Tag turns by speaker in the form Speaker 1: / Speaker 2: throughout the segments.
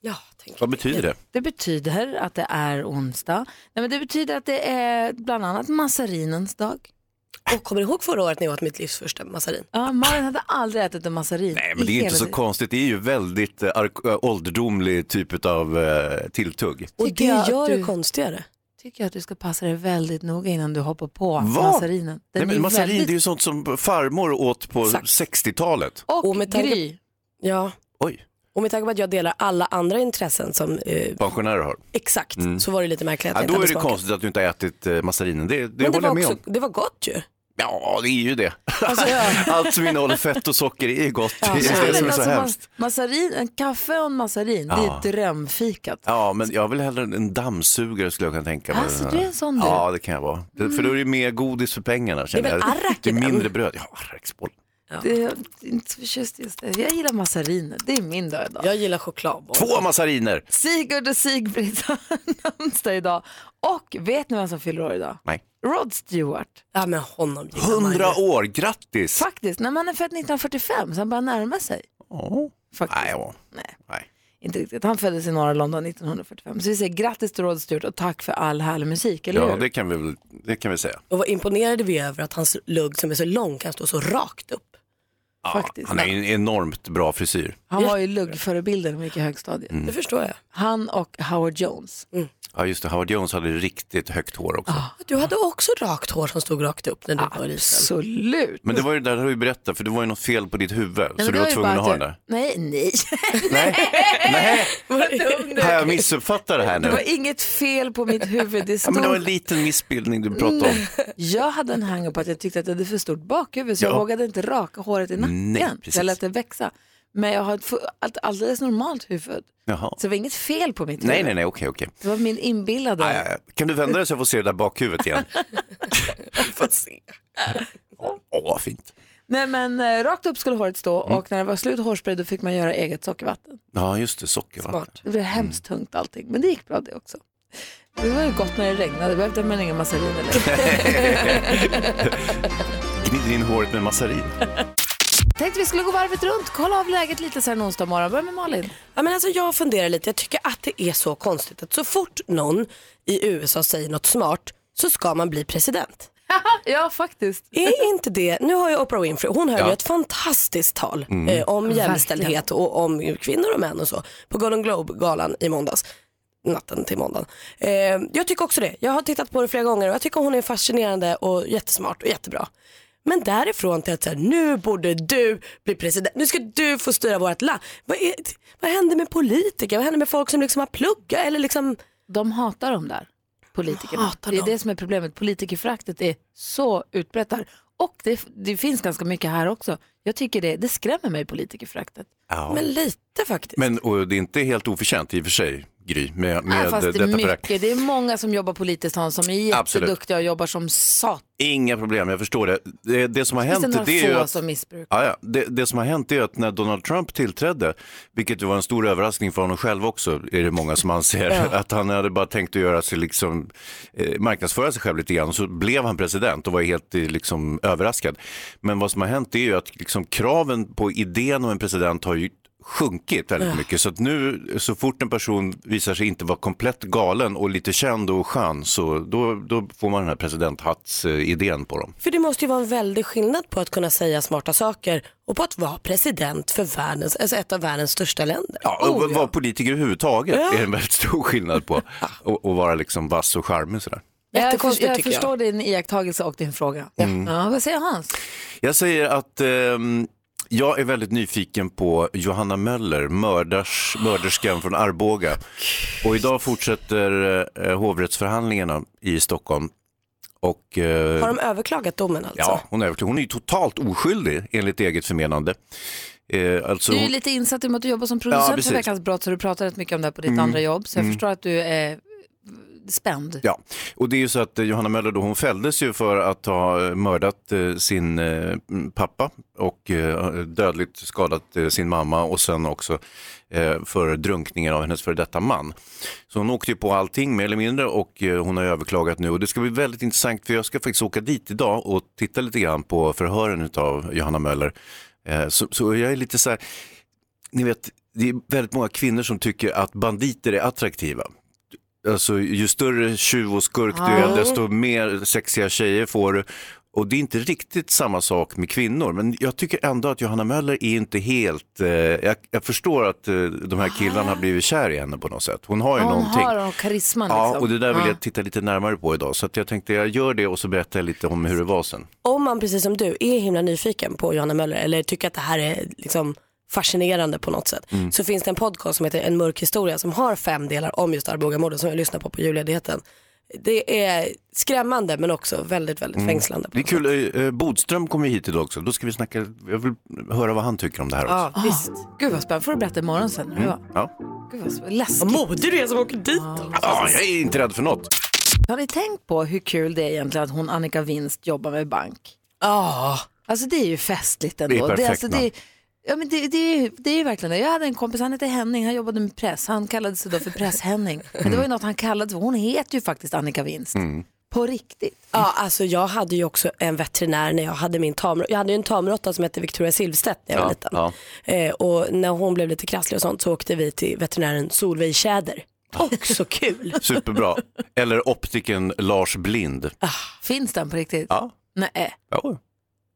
Speaker 1: Ja,
Speaker 2: Vad betyder det?
Speaker 1: det betyder att det är onsdag. Nej, men det betyder att det är bland annat massarinens dag.
Speaker 3: Och kommer du ihåg förra året när jag åt mitt livs första massarin?
Speaker 1: Ja, Malin hade aldrig ätit en massarin.
Speaker 2: Nej, men det är
Speaker 1: i
Speaker 2: ju inte
Speaker 1: hela
Speaker 2: så
Speaker 1: sitt-
Speaker 2: konstigt. Det är ju väldigt eh, ark- eh, ålderdomlig typ av eh, tilltugg.
Speaker 3: Och
Speaker 1: Tycker
Speaker 3: det
Speaker 1: jag att
Speaker 3: gör
Speaker 1: du-
Speaker 3: det konstigare.
Speaker 1: Tycker jag att du ska passa dig väldigt noga innan du hoppar på
Speaker 2: Va?
Speaker 1: massarinen. Den
Speaker 2: Nej,
Speaker 1: är ju
Speaker 2: men massarin,
Speaker 1: väldigt-
Speaker 2: det är ju sånt som farmor åt på
Speaker 3: Exakt.
Speaker 2: 60-talet.
Speaker 1: Och,
Speaker 3: Och med tanke-
Speaker 1: Gry.
Speaker 3: Ja.
Speaker 2: Oj,
Speaker 3: Och med tanke på att jag delar alla andra intressen som eh,
Speaker 2: pensionärer har.
Speaker 3: exakt så var det lite märkligt att
Speaker 2: Mm. Ja, då är
Speaker 3: jag inte hade
Speaker 2: det
Speaker 3: smakat.
Speaker 2: konstigt att du inte har ätit eh, massarinen. Det, det
Speaker 3: Men det
Speaker 2: håller
Speaker 3: var,
Speaker 2: jag med
Speaker 3: också,
Speaker 2: om.
Speaker 3: det var gott ju.
Speaker 2: Ja, det är ju det.
Speaker 3: Alltså, ja.
Speaker 2: Allt som innehåller fett och socker är gott. det
Speaker 1: Ja,
Speaker 2: är det som är
Speaker 1: men
Speaker 2: så
Speaker 1: alltså, mas-
Speaker 2: hemskt.
Speaker 1: Massarin, en kaffe och en massarin, det är
Speaker 2: Ja.
Speaker 1: drömfikat.
Speaker 2: Ja, men jag vill hellre en- en dammsugare skulle jag kunna tänka mig.
Speaker 1: Alltså, du är en sån du.
Speaker 2: Ja, det kan jag vara. Det- För då är det mer godis för pengarna. Känner
Speaker 3: Det är väl
Speaker 2: jag.
Speaker 3: arrak
Speaker 2: det är
Speaker 3: i den?
Speaker 2: mindre bröd. Ja, arraksboll.
Speaker 1: Det, jag är inte så förtjust i just det. Jag gillar massariner, det är min dag idag.
Speaker 3: Jag gillar chokladboll.
Speaker 2: Två massariner.
Speaker 1: Sigurd och Sigbritt har namnsdag idag. Och vet ni vem som fyller år idag?
Speaker 2: Nej.
Speaker 1: Rod Stewart.
Speaker 3: Ja men honom gillar man ju.
Speaker 2: 100 år, grattis!
Speaker 1: Faktiskt, när man är född 1945 så han börjar närma sig.
Speaker 2: Ja.
Speaker 1: Faktiskt.
Speaker 2: Nej, ja.
Speaker 1: Nej,
Speaker 2: Nej.
Speaker 1: inte riktigt. Han föddes i norra London 1945. Så vi säger grattis till Rod Stewart och tack för all härlig musik, eller
Speaker 2: ja,
Speaker 1: hur?
Speaker 2: det kan vi väl det kan vi säga.
Speaker 3: Och vad imponerade vi över att hans lugg som är så lång kan stå så rakt upp.
Speaker 2: Ja,
Speaker 1: Faktiskt.
Speaker 2: han har ju en enormt bra frisyr.
Speaker 1: Han var ju luggförebilden när vi gick i högstadiet.
Speaker 2: Mm.
Speaker 3: Det förstår jag.
Speaker 1: Han och Howard Jones.
Speaker 2: Ja, just det, Howard Jones hade riktigt högt hår också.
Speaker 3: Du hade också rakt hår som stod rakt upp när du var liten.
Speaker 1: Absolut.
Speaker 2: Men det var ju det där har du berättat, för det var ju något fel på ditt huvud, så
Speaker 1: men
Speaker 2: du
Speaker 1: det
Speaker 2: var
Speaker 1: ju
Speaker 2: tvungen
Speaker 1: bara
Speaker 2: att ha den
Speaker 1: jag-
Speaker 2: där.
Speaker 1: Nej, nej.
Speaker 2: Nej, nej, har jag missuppfattat det här
Speaker 1: Det
Speaker 2: nu?
Speaker 1: var inget fel på mitt huvud. Det
Speaker 2: Ja,
Speaker 1: stod
Speaker 2: men det var en liten missbildning du pratade om.
Speaker 1: Jag hade en hang på att jag tyckte att jag hade för stort bakhuvud så jag
Speaker 2: Ja.
Speaker 1: vågade inte raka håret i nacken.
Speaker 2: Nej, precis.
Speaker 1: jag lät det växa. Men jag har ett fu- allt- alldeles normalt huvud.
Speaker 2: Jaha.
Speaker 1: Så det var inget fel på mitt
Speaker 2: Nej,
Speaker 1: huvud.
Speaker 2: nej, nej, okej, okej.
Speaker 1: Det var min inbillade.
Speaker 2: Aj, aj, aj. Kan du vända dig så jag får se det där bakhuvudet igen?
Speaker 3: Får se.
Speaker 2: Åh, vad fint.
Speaker 1: Nej men eh, rakt upp skulle håret stå
Speaker 2: Mm.
Speaker 1: och när det var slut hårspray då fick man göra eget sockervatten.
Speaker 2: Ja, just det, sockervatten.
Speaker 1: Det blev hemskt tungt allting men det gick bra det också. Det var ju gott när det regnade, behövde man inga massariner längre.
Speaker 2: Gnider in håret med massarin.
Speaker 1: Tänkte vi skulle gå varvet runt, kolla av läget lite så här en onsdag morgon. Börja med Malin.
Speaker 3: Ja, men alltså jag funderar lite, jag tycker att det är så konstigt att så fort någon i USA säger något smart så ska man bli president.
Speaker 1: Ja faktiskt.
Speaker 3: Är inte det, nu har jag Oprah Winfrey, hon höll
Speaker 2: Ja.
Speaker 3: ju ett fantastiskt tal eh, om jämställdhet och om kvinnor och män och så på Golden Globe-galan i måndags. Natten till måndagen. Eh, jag tycker också det, jag har tittat på det flera gånger och jag tycker hon är fascinerande och jättesmart och jättebra. Men därifrån till att säga nu borde du bli president, nu ska du få styra vårt land. Vad, är, vad händer med politiker, vad händer med folk som liksom har pluggat eller liksom
Speaker 1: De hatar de där politikerna.
Speaker 3: Hatar
Speaker 1: det är
Speaker 3: dem.
Speaker 1: det som är problemet. Politikerföraktet är så utbrett där. Och det, det finns ganska mycket här också. Jag tycker det, det skrämmer mig, politikerföraktet.
Speaker 2: Ja.
Speaker 3: Men lite faktiskt.
Speaker 2: Men och det är inte helt oförtjänt i och för sig, Gry, med, med
Speaker 1: Ja, Äh, fast det
Speaker 2: detta
Speaker 1: är
Speaker 2: förakt.
Speaker 1: mycket. Det är många som jobbar politiskt, Hans, som är
Speaker 2: Absolut.
Speaker 1: jätteduktiga och jobbar som satan.
Speaker 2: Inga problem, jag förstår det. Det, det som har
Speaker 1: Finns det
Speaker 2: hänt
Speaker 1: några
Speaker 2: det är ju
Speaker 1: få
Speaker 2: att...
Speaker 1: som missbrukar?
Speaker 2: Ja, ja. Det, det som har hänt är att när Donald Trump tillträdde, vilket var en stor överraskning för honom själv också, är det många som anser, att han hade bara tänkt att göra sig liksom, eh, marknadsföra sig själv lite grann, så blev han president och var helt eh, liksom, överraskad. Men vad som har hänt är ju att liksom, kraven på idén om en president har ju sjunkit väldigt mycket. Så att nu så fort en person visar sig inte vara komplett galen och lite känd och skön så då, då får man den här presidenthattsidén på dem.
Speaker 3: För det måste ju vara en väldig skillnad på att kunna säga smarta saker och på att vara president för världens, alltså ett av världens största länder. Oh,
Speaker 2: Ja,
Speaker 1: Oh,
Speaker 2: och vara politiker överhuvudtaget är en väldigt stor skillnad på och, och vara liksom vass och charmig sådär.
Speaker 1: Jag, för,
Speaker 3: Jättekonstigt
Speaker 1: jag
Speaker 3: tycker jag.
Speaker 1: förstår din iakttagelse och din fråga.
Speaker 2: Mm.
Speaker 1: Ja, vad säger Hans?
Speaker 2: Jag säger att ehm, jag är väldigt nyfiken på Johanna Möller, mördars, mörderskan från Arboga. Och idag fortsätter eh, hovrättsförhandlingarna i Stockholm. Och, eh,
Speaker 3: Har de överklagat domen alltså?
Speaker 2: Ja, hon är, övertygad. hon är ju totalt oskyldig enligt eget förmenande. Eh, alltså,
Speaker 1: Du är ju
Speaker 2: hon-
Speaker 1: lite insatt i och med att du jobbar som producent
Speaker 2: precis. Mm.
Speaker 1: för Veckans brott så du pratar rätt mycket om det här på ditt andra jobb. Så jag förstår att du är eh, spänd.
Speaker 2: Ja, och det är ju så att eh, Johanna Möller då, hon fälldes ju för att ha eh, mördat eh, sin eh, m, pappa och eh, dödligt skadat eh, sin mamma och sen också eh, för drunkningen av hennes före detta man. Så hon åkte ju på allting mer eller mindre och eh, hon har ju överklagat nu och det ska bli väldigt intressant för jag ska faktiskt åka dit idag och titta lite grann på förhören av Johanna Möller. Eh, så, så jag är lite så här, ni vet, det är väldigt många kvinnor som tycker att banditer är attraktiva. Alltså ju större tjuv och skurk du är, desto mer sexiga tjejer får du. Och det är inte riktigt samma sak med kvinnor, men jag tycker ändå att Johanna Möller är inte helt, eh, jag, jag förstår att eh, de här killarna har blivit kär i henne på något sätt. Hon har ju
Speaker 1: Hon
Speaker 2: någonting.
Speaker 1: har karisman
Speaker 2: Ja,
Speaker 1: liksom.
Speaker 2: och det där vill jag titta lite närmare på idag. Så att jag tänkte jag gör det och så berättar jag lite om hur det var sen.
Speaker 3: Om man precis som du är himla nyfiken på Johanna Möller eller tycker att det här är liksom fascinerande på något sätt så finns det en podcast som heter En mörk historia som har fem delar om just Arbogamorden som jag lyssnar på på julledigheten. Det är skrämmande men också väldigt, väldigt fängslande. På
Speaker 2: Det är
Speaker 3: något sätt.
Speaker 2: kul, eh, eh, Bodström kommer ju hit idag också. Då ska vi snacka, jag vill höra vad han tycker om det här också.
Speaker 1: Ja, visst. Gud vad spännande. får du berätta imorgon sen.
Speaker 2: Mm.
Speaker 1: hur det var.
Speaker 2: Ja.
Speaker 1: Gud vad spännande. läskigt.
Speaker 3: Vad modig du är som åker dit. då.
Speaker 2: Ja, jag är inte rädd för något.
Speaker 1: Har ni tänkt på hur kul det är egentligen att hon Annika Winst jobbar med bank?
Speaker 3: Ja,
Speaker 1: Alltså det är ju festligt ändå.
Speaker 2: Det är perfekt,
Speaker 1: alltså,
Speaker 2: va?
Speaker 1: det, ja, men det, det, är ju- det är ju verkligen det. Jag hade en kompis, han hette Henning, han jobbade med press. Han kallade sig då för Press-Henning.
Speaker 2: Mm.
Speaker 1: Men det var ju något han kallade för. Hon heter ju faktiskt Annika Winst. På riktigt.
Speaker 3: Ja, alltså jag hade ju också en veterinär när jag hade min tam. Jag hade ju en tamråtta som hette Victoria Silvstedt när jag var
Speaker 2: Ja,
Speaker 3: liten.
Speaker 2: ja.
Speaker 3: Eh, och när hon blev lite krasslig och sånt så åkte vi till veterinären Solveig Tjäder. Också kul.
Speaker 2: Superbra. Eller optiken Lars Blind.
Speaker 1: Finns den på riktigt?
Speaker 2: Ja.
Speaker 1: Nej,
Speaker 2: Ja.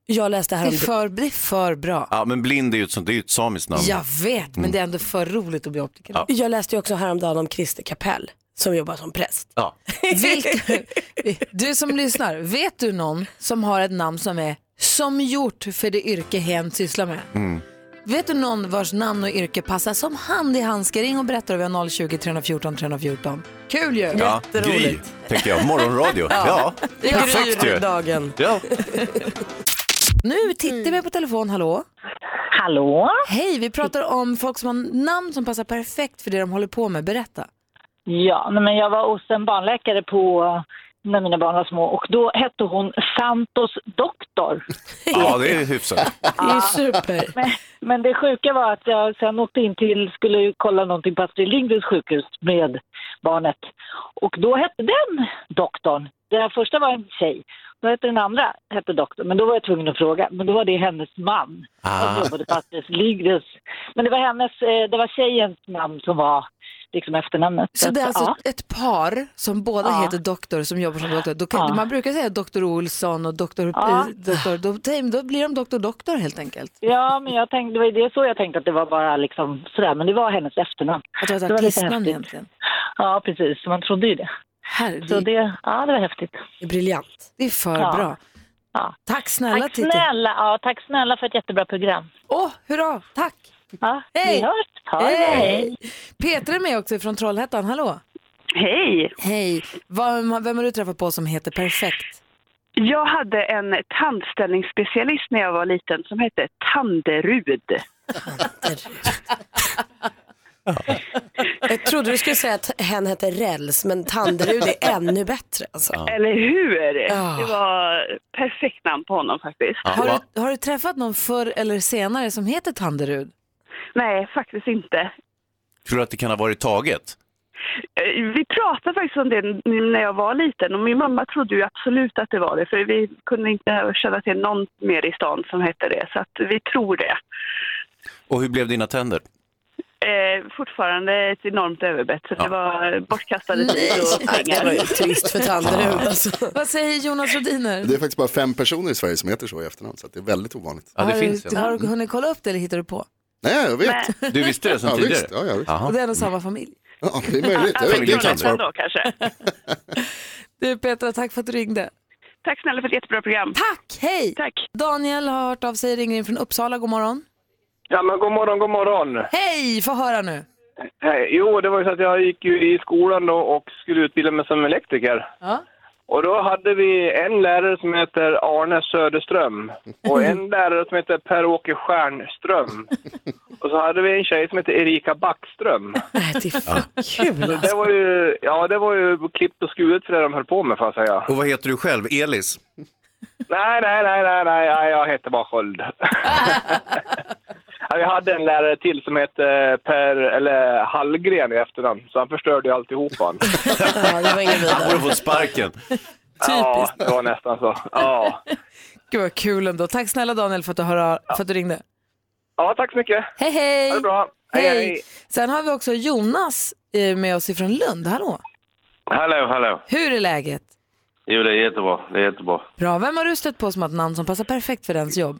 Speaker 3: Jag läste
Speaker 1: det är
Speaker 3: härom
Speaker 1: för, det är för bra.
Speaker 2: ja, men Blind är ju ett, sånt, det är ju ett samiskt namn.
Speaker 1: Jag vet, men det är ändå för roligt att bli optiker.
Speaker 2: Ja.
Speaker 3: Jag läste ju också häromdagen om Christer Kapell som jobbar som präst.
Speaker 2: Ja.
Speaker 1: Vilk- du som lyssnar, vet du någon som har ett namn som är som gjort för det yrke hen sysslar med? Vet du någon vars namn och yrke passar som hand i handske? Ring och berätta över 020-314 314. Kul ju!
Speaker 2: Ja, Gry, tänker jag. Morgonradio. Ja, perfekt ju.
Speaker 3: dagen.
Speaker 2: Ja.
Speaker 1: Nu tittar vi på telefon, hallå?
Speaker 4: Hallå?
Speaker 1: Hej, vi pratar om folk som har namn som passar perfekt för det de håller på med. Berätta.
Speaker 4: Ja, nej, men jag var hos en barnläkare på när mina barn var små och då hette hon Santos doktor.
Speaker 2: ja, det är hyfsat.
Speaker 3: Det är ju super.
Speaker 4: Men, men det sjuka var att jag sen åkte in till, skulle ju kolla någonting på Astrid Lindgrens sjukhus med barnet och då hette den doktorn. Den första var en tjej, då hette den andra hette doktorn, men då var jag tvungen att fråga, men då var det hennes man. som jobbade på Astrid Lindgrens. Men det var hennes, eh, det var tjejens namn som var liksom efternamnet.
Speaker 1: Så det är alltså
Speaker 4: ja.
Speaker 1: ett par som båda
Speaker 4: Ja.
Speaker 1: heter doktor som jobbar som doktor. Då kan,
Speaker 4: Ja.
Speaker 1: Man brukar säga doktor Olsson och doktor...
Speaker 4: Ja.
Speaker 1: eh, doktor då, då blir de doktor doktor helt enkelt.
Speaker 4: Ja, men jag tänkte, det var ju det så jag tänkte att det var bara liksom sådär, men det var hennes efternamn.
Speaker 1: Att det var ett
Speaker 4: Det var lite
Speaker 1: artistnamn
Speaker 4: häftigt.
Speaker 1: egentligen.
Speaker 4: Ja, precis, så man trodde ju det. Så
Speaker 1: Herregud, det,
Speaker 4: det, ja, det var häftigt.
Speaker 3: Det är briljant.
Speaker 1: är för
Speaker 4: Ja.
Speaker 1: bra.
Speaker 4: Ja.
Speaker 1: Tack snälla
Speaker 4: Tack
Speaker 1: Titti.
Speaker 4: snälla, ja, tack snälla för ett jättebra program.
Speaker 1: Åh, hurra, tack.
Speaker 4: Ja,
Speaker 1: Hej.
Speaker 4: Vi hörs, ha det. Hej!
Speaker 1: Petra är med också från Trollhättan, hallå.
Speaker 5: Hej!
Speaker 1: Hej, vem, vem har du träffat på som heter perfekt?
Speaker 5: Jag hade en tandställningsspecialist när jag var liten som hette Tanderud.
Speaker 3: Jag trodde du skulle säga att hen hette Räls, men Tanderud är ännu bättre. Alltså.
Speaker 5: Eller hur?
Speaker 3: Ja.
Speaker 5: Det var perfekt namn på honom faktiskt.
Speaker 1: Har,
Speaker 2: Ja,
Speaker 1: du, har du träffat någon förr eller senare som heter Tanderud?
Speaker 5: Nej, faktiskt inte.
Speaker 2: tror du att det kan ha varit taget?
Speaker 5: Eh, Vi pratade faktiskt om det n- när jag var liten och min mamma trodde ju absolut att det var det för vi kunde inte känna till någon mer i stan som hette det så att vi tror det.
Speaker 2: Och hur blev dina tänder?
Speaker 5: Eh, fortfarande ett enormt överbett så det var bortkastade tid och
Speaker 3: Det var ju
Speaker 5: pengar.
Speaker 3: trist för Tanderud. Alltså.
Speaker 1: Vad säger Jonas Rodiner?
Speaker 6: Det är faktiskt bara fem personer i Sverige som heter så i efternamn, så att det är väldigt ovanligt.
Speaker 2: Ja, det finns
Speaker 1: har, du,
Speaker 2: ju.
Speaker 1: har du hunnit kolla upp det eller hittar du på?
Speaker 6: Nej, jag vet.
Speaker 2: Du visste det sen
Speaker 6: ja,
Speaker 2: tidigare?
Speaker 6: visst. Ja, ja, visst.
Speaker 2: Jaha.
Speaker 1: Och det är ändå samma familj.
Speaker 6: ja, det är möjligt. Jag vet, inte.
Speaker 2: det kan
Speaker 5: Trollhättan
Speaker 2: svara
Speaker 5: då kanske.
Speaker 1: Du Petra, tack för att du ringde.
Speaker 5: Tack snälla för ett jättebra program.
Speaker 1: Tack, hej!
Speaker 5: Tack.
Speaker 1: Daniel har hört av sig, ringer in från Uppsala, god morgon.
Speaker 7: Ja men god morgon, god morgon.
Speaker 1: Hej, få höra nu.
Speaker 7: Hej. Jo, det var ju så att jag gick ju i skolan då och skulle utbilda mig som elektriker.
Speaker 1: Ja.
Speaker 7: Och då hade vi en lärare som heter Arne Söderström och en lärare som heter Per-Åke Stjernström. Och så hade vi en tjej som heter Erika Backström.
Speaker 1: Nej, det är fan kul
Speaker 7: Så det var ju, ja, det var ju klippt och skuret för det de höll på med får jag säga.
Speaker 2: Och vad heter du själv? Elis?
Speaker 7: Nej, nej, nej, nej, nej, nej, jag heter bara Sköld. Ja, Vi hade en lärare till som hette eh, Per, eller Hallgren i efternamn, så han förstörde ju alltihopa. Han.
Speaker 2: Han borde fått sparken.
Speaker 7: Ja, det var nästan så. Ja,
Speaker 1: Gud vad kul ändå. Tack snälla Daniel för att du, hör, för att du ringde.
Speaker 7: ja tack så mycket.
Speaker 1: Hej hej!
Speaker 7: Ha det bra. Hej, hej.
Speaker 1: Sen har vi också Jonas eh, med oss ifrån Lund. Hallå!
Speaker 8: Hallå, hallå.
Speaker 1: Hur är läget?
Speaker 8: Jo, det är jättebra. Det är jättebra.
Speaker 1: Bra. Vem har du stött på som har ett namn som passar perfekt för dens jobb?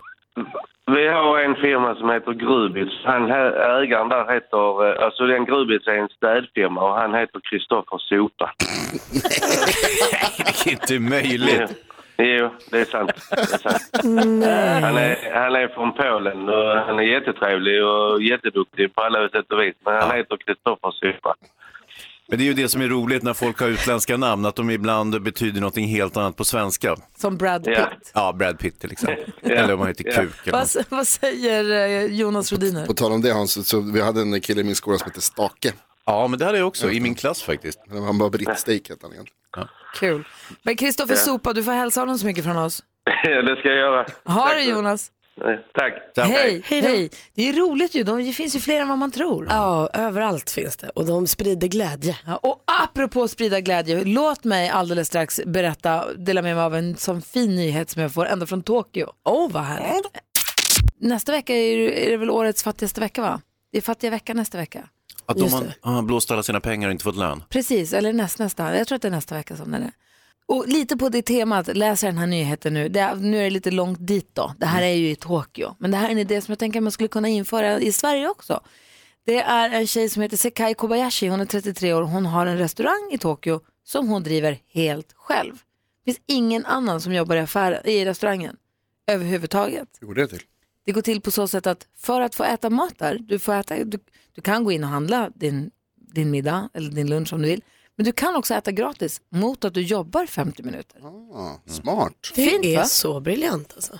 Speaker 8: Vi har en firma som heter Grubitz. Han, här- ägaren där heter... eh, Alltså den Grubitz är en städfirma och han heter Kristoffer Sota.
Speaker 2: Det är inte möjligt.
Speaker 8: Jo, det är sant. Det är sant. Han, är, han är från Polen och han är jättetrevlig och jätteduktig på alla sätt och vis. Men han heter Kristoffer Sota.
Speaker 2: Men det är ju det som är roligt när folk har utländska namn, att de ibland betyder något helt annat på svenska.
Speaker 1: Som Brad Pitt.
Speaker 2: Ja, Brad Pitt till exempel.
Speaker 6: Ja.
Speaker 2: Eller om man heter
Speaker 6: Ja.
Speaker 2: Kuk. Eller
Speaker 1: Vad, s- vad säger eh, Jonas Rhodiner?
Speaker 6: På tal om det Hans, så vi hade en kille i min skola som hette Stake.
Speaker 2: Ja, men det hade jag också, i min klass faktiskt.
Speaker 6: Han var brittsteak hette han egentligen.
Speaker 1: Kul. Men Kristoffer
Speaker 8: Ja.
Speaker 1: Sopa, du får hälsa honom så mycket från oss.
Speaker 8: det ska jag göra.
Speaker 1: Ha det Jonas!
Speaker 8: Eh, Tack.
Speaker 1: Hej! Hej! Det är roligt ju, de, det finns ju fler än vad man tror.
Speaker 3: Ja, överallt finns det och de sprider glädje.
Speaker 1: Ja, Och apropå sprida glädje, låt mig alldeles strax berätta, dela med mig av en sån fin nyhet som jag får ända från Tokyo. Åh, vad härligt. Nästa vecka är det, är det väl årets fattigaste vecka, va? Det är fattiga vecka nästa vecka.
Speaker 2: Att de har har blåst alla sina pengar och inte fått lön.
Speaker 1: Precis, eller näst, nästa. Jag tror att det är nästa vecka som den är. Och lite på det temat, läser den här nyheten nu. Det, är- nu är det lite långt dit då. Det här är ju i Tokyo. Men det här är en idé som jag tänker att man skulle kunna införa i Sverige också. Det är en tjej som heter Sekai Kobayashi. Hon är 33 år. Hon har en restaurang i Tokyo som hon driver helt själv. Det finns ingen annan som jobbar i, affär, i restaurangen överhuvudtaget.
Speaker 6: Gjorde det till.
Speaker 1: Det går till på så sätt att för att få äta mat där, du, får äta, du, du kan gå in och handla din, din middag eller din lunch om du vill, men du kan också äta gratis mot att du jobbar 50 minuter.
Speaker 6: Ah, smart.
Speaker 3: Det
Speaker 1: Fint,
Speaker 3: är
Speaker 1: va?
Speaker 3: så briljant alltså.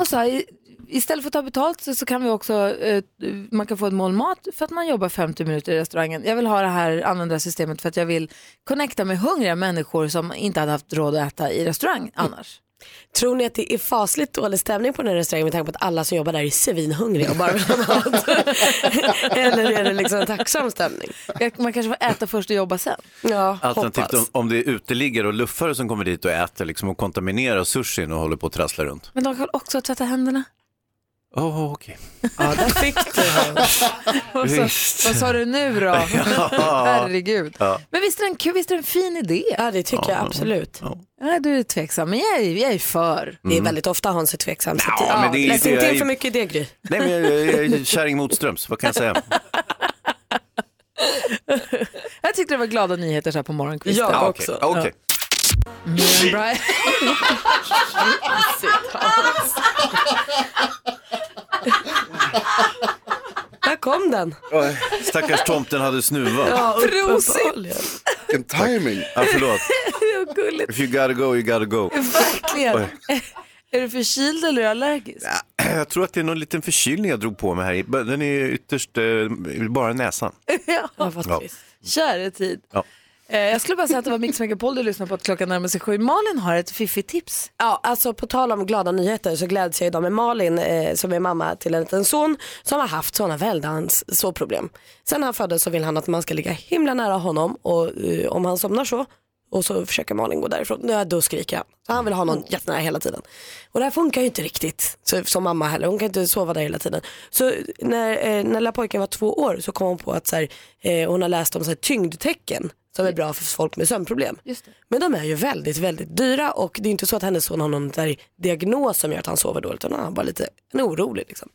Speaker 1: Och så här, i- istället för att ta betalt så, så kan vi också, eh, man kan få ett mål mat för att man jobbar 50 minuter i restaurangen. Jag vill ha det här, använda det här systemet för att jag vill connecta med hungriga människor som inte hade haft råd att äta i restaurang annars.
Speaker 3: Tror ni att det är fasligt dålig stämning på den här restaurangen med tanke på att alla som jobbar där är svinhungriga och bara vill ha mat? Eller är det liksom en tacksam stämning?
Speaker 1: Man kanske får äta först och jobba sen.
Speaker 3: Ja,
Speaker 2: Alternativt om, om det är uteliggare och luffare som kommer dit och äter liksom, och kontaminerar sushin och håller på att trassla runt.
Speaker 1: Men de kan också tvätta händerna.
Speaker 2: Oh, okej.
Speaker 1: Vad sa-
Speaker 2: Visst.
Speaker 1: vad sa du nu då?
Speaker 2: Ja.
Speaker 1: Herregud.
Speaker 2: Ja.
Speaker 1: Men visst är, den, kul, visst är det en fin idé?
Speaker 3: Ja, det tycker jag absolut.
Speaker 1: Nej, du är tveksam, men jag är, jag är för.
Speaker 3: Det är väldigt ofta Hans är tveksam. så att-
Speaker 2: Mm. Ja, men det är-
Speaker 3: Läs inte
Speaker 2: det är-
Speaker 3: in för mycket i det Gry.
Speaker 2: Nej, men jag- jag jag är kärring motströms, vad kan jag säga?
Speaker 1: Jag tyckte det var glada nyheter så här på morgonkvisten.
Speaker 2: Ja, okej. Ja, okej.
Speaker 1: Miriam Bryant.
Speaker 3: Där kom den.
Speaker 2: Stackars tomten hade snuva.
Speaker 6: Vilken timing.
Speaker 2: Ja, förlåt.
Speaker 1: Det var gulligt.
Speaker 2: If you gotta go, you gotta go.
Speaker 1: Verkligen.
Speaker 2: Oj.
Speaker 1: Är du förkyld eller är du allergisk?
Speaker 2: Jag tror att det är någon liten förkylning jag drog på mig här. i. Den är ytterst, eh, bara näsan.
Speaker 1: Ja.
Speaker 2: Ja.
Speaker 1: Käre tid.
Speaker 2: Ja.
Speaker 1: Eh, Jag skulle bara säga att det var Mix Megapol du lyssnade på att klockan närmar sig sju. Malin har ett fiffigt tips.
Speaker 3: Ja, alltså på tal om glada nyheter så gläds jag idag med Malin eh, som är mamma till en liten son som har haft sådana väldans sårproblem. Sen han föddes så vill han att man ska ligga himla nära honom och eh, om han somnar så och så försöker Malin gå därifrån, ja, då skriker han. Så han vill ha någon jättenära hela tiden. Och det här funkar ju inte riktigt så, som mamma heller, hon kan inte sova där hela tiden. Så när, eh, när lilla pojken var två år så kom hon på att så här, eh, hon har läst om så här, tyngdtecken som är bra för folk med sömnproblem. Men de är ju väldigt, väldigt dyra och det är inte så att hennes son har någon där diagnos som gör att han sover dåligt utan han är bara lite han är orolig. Liksom.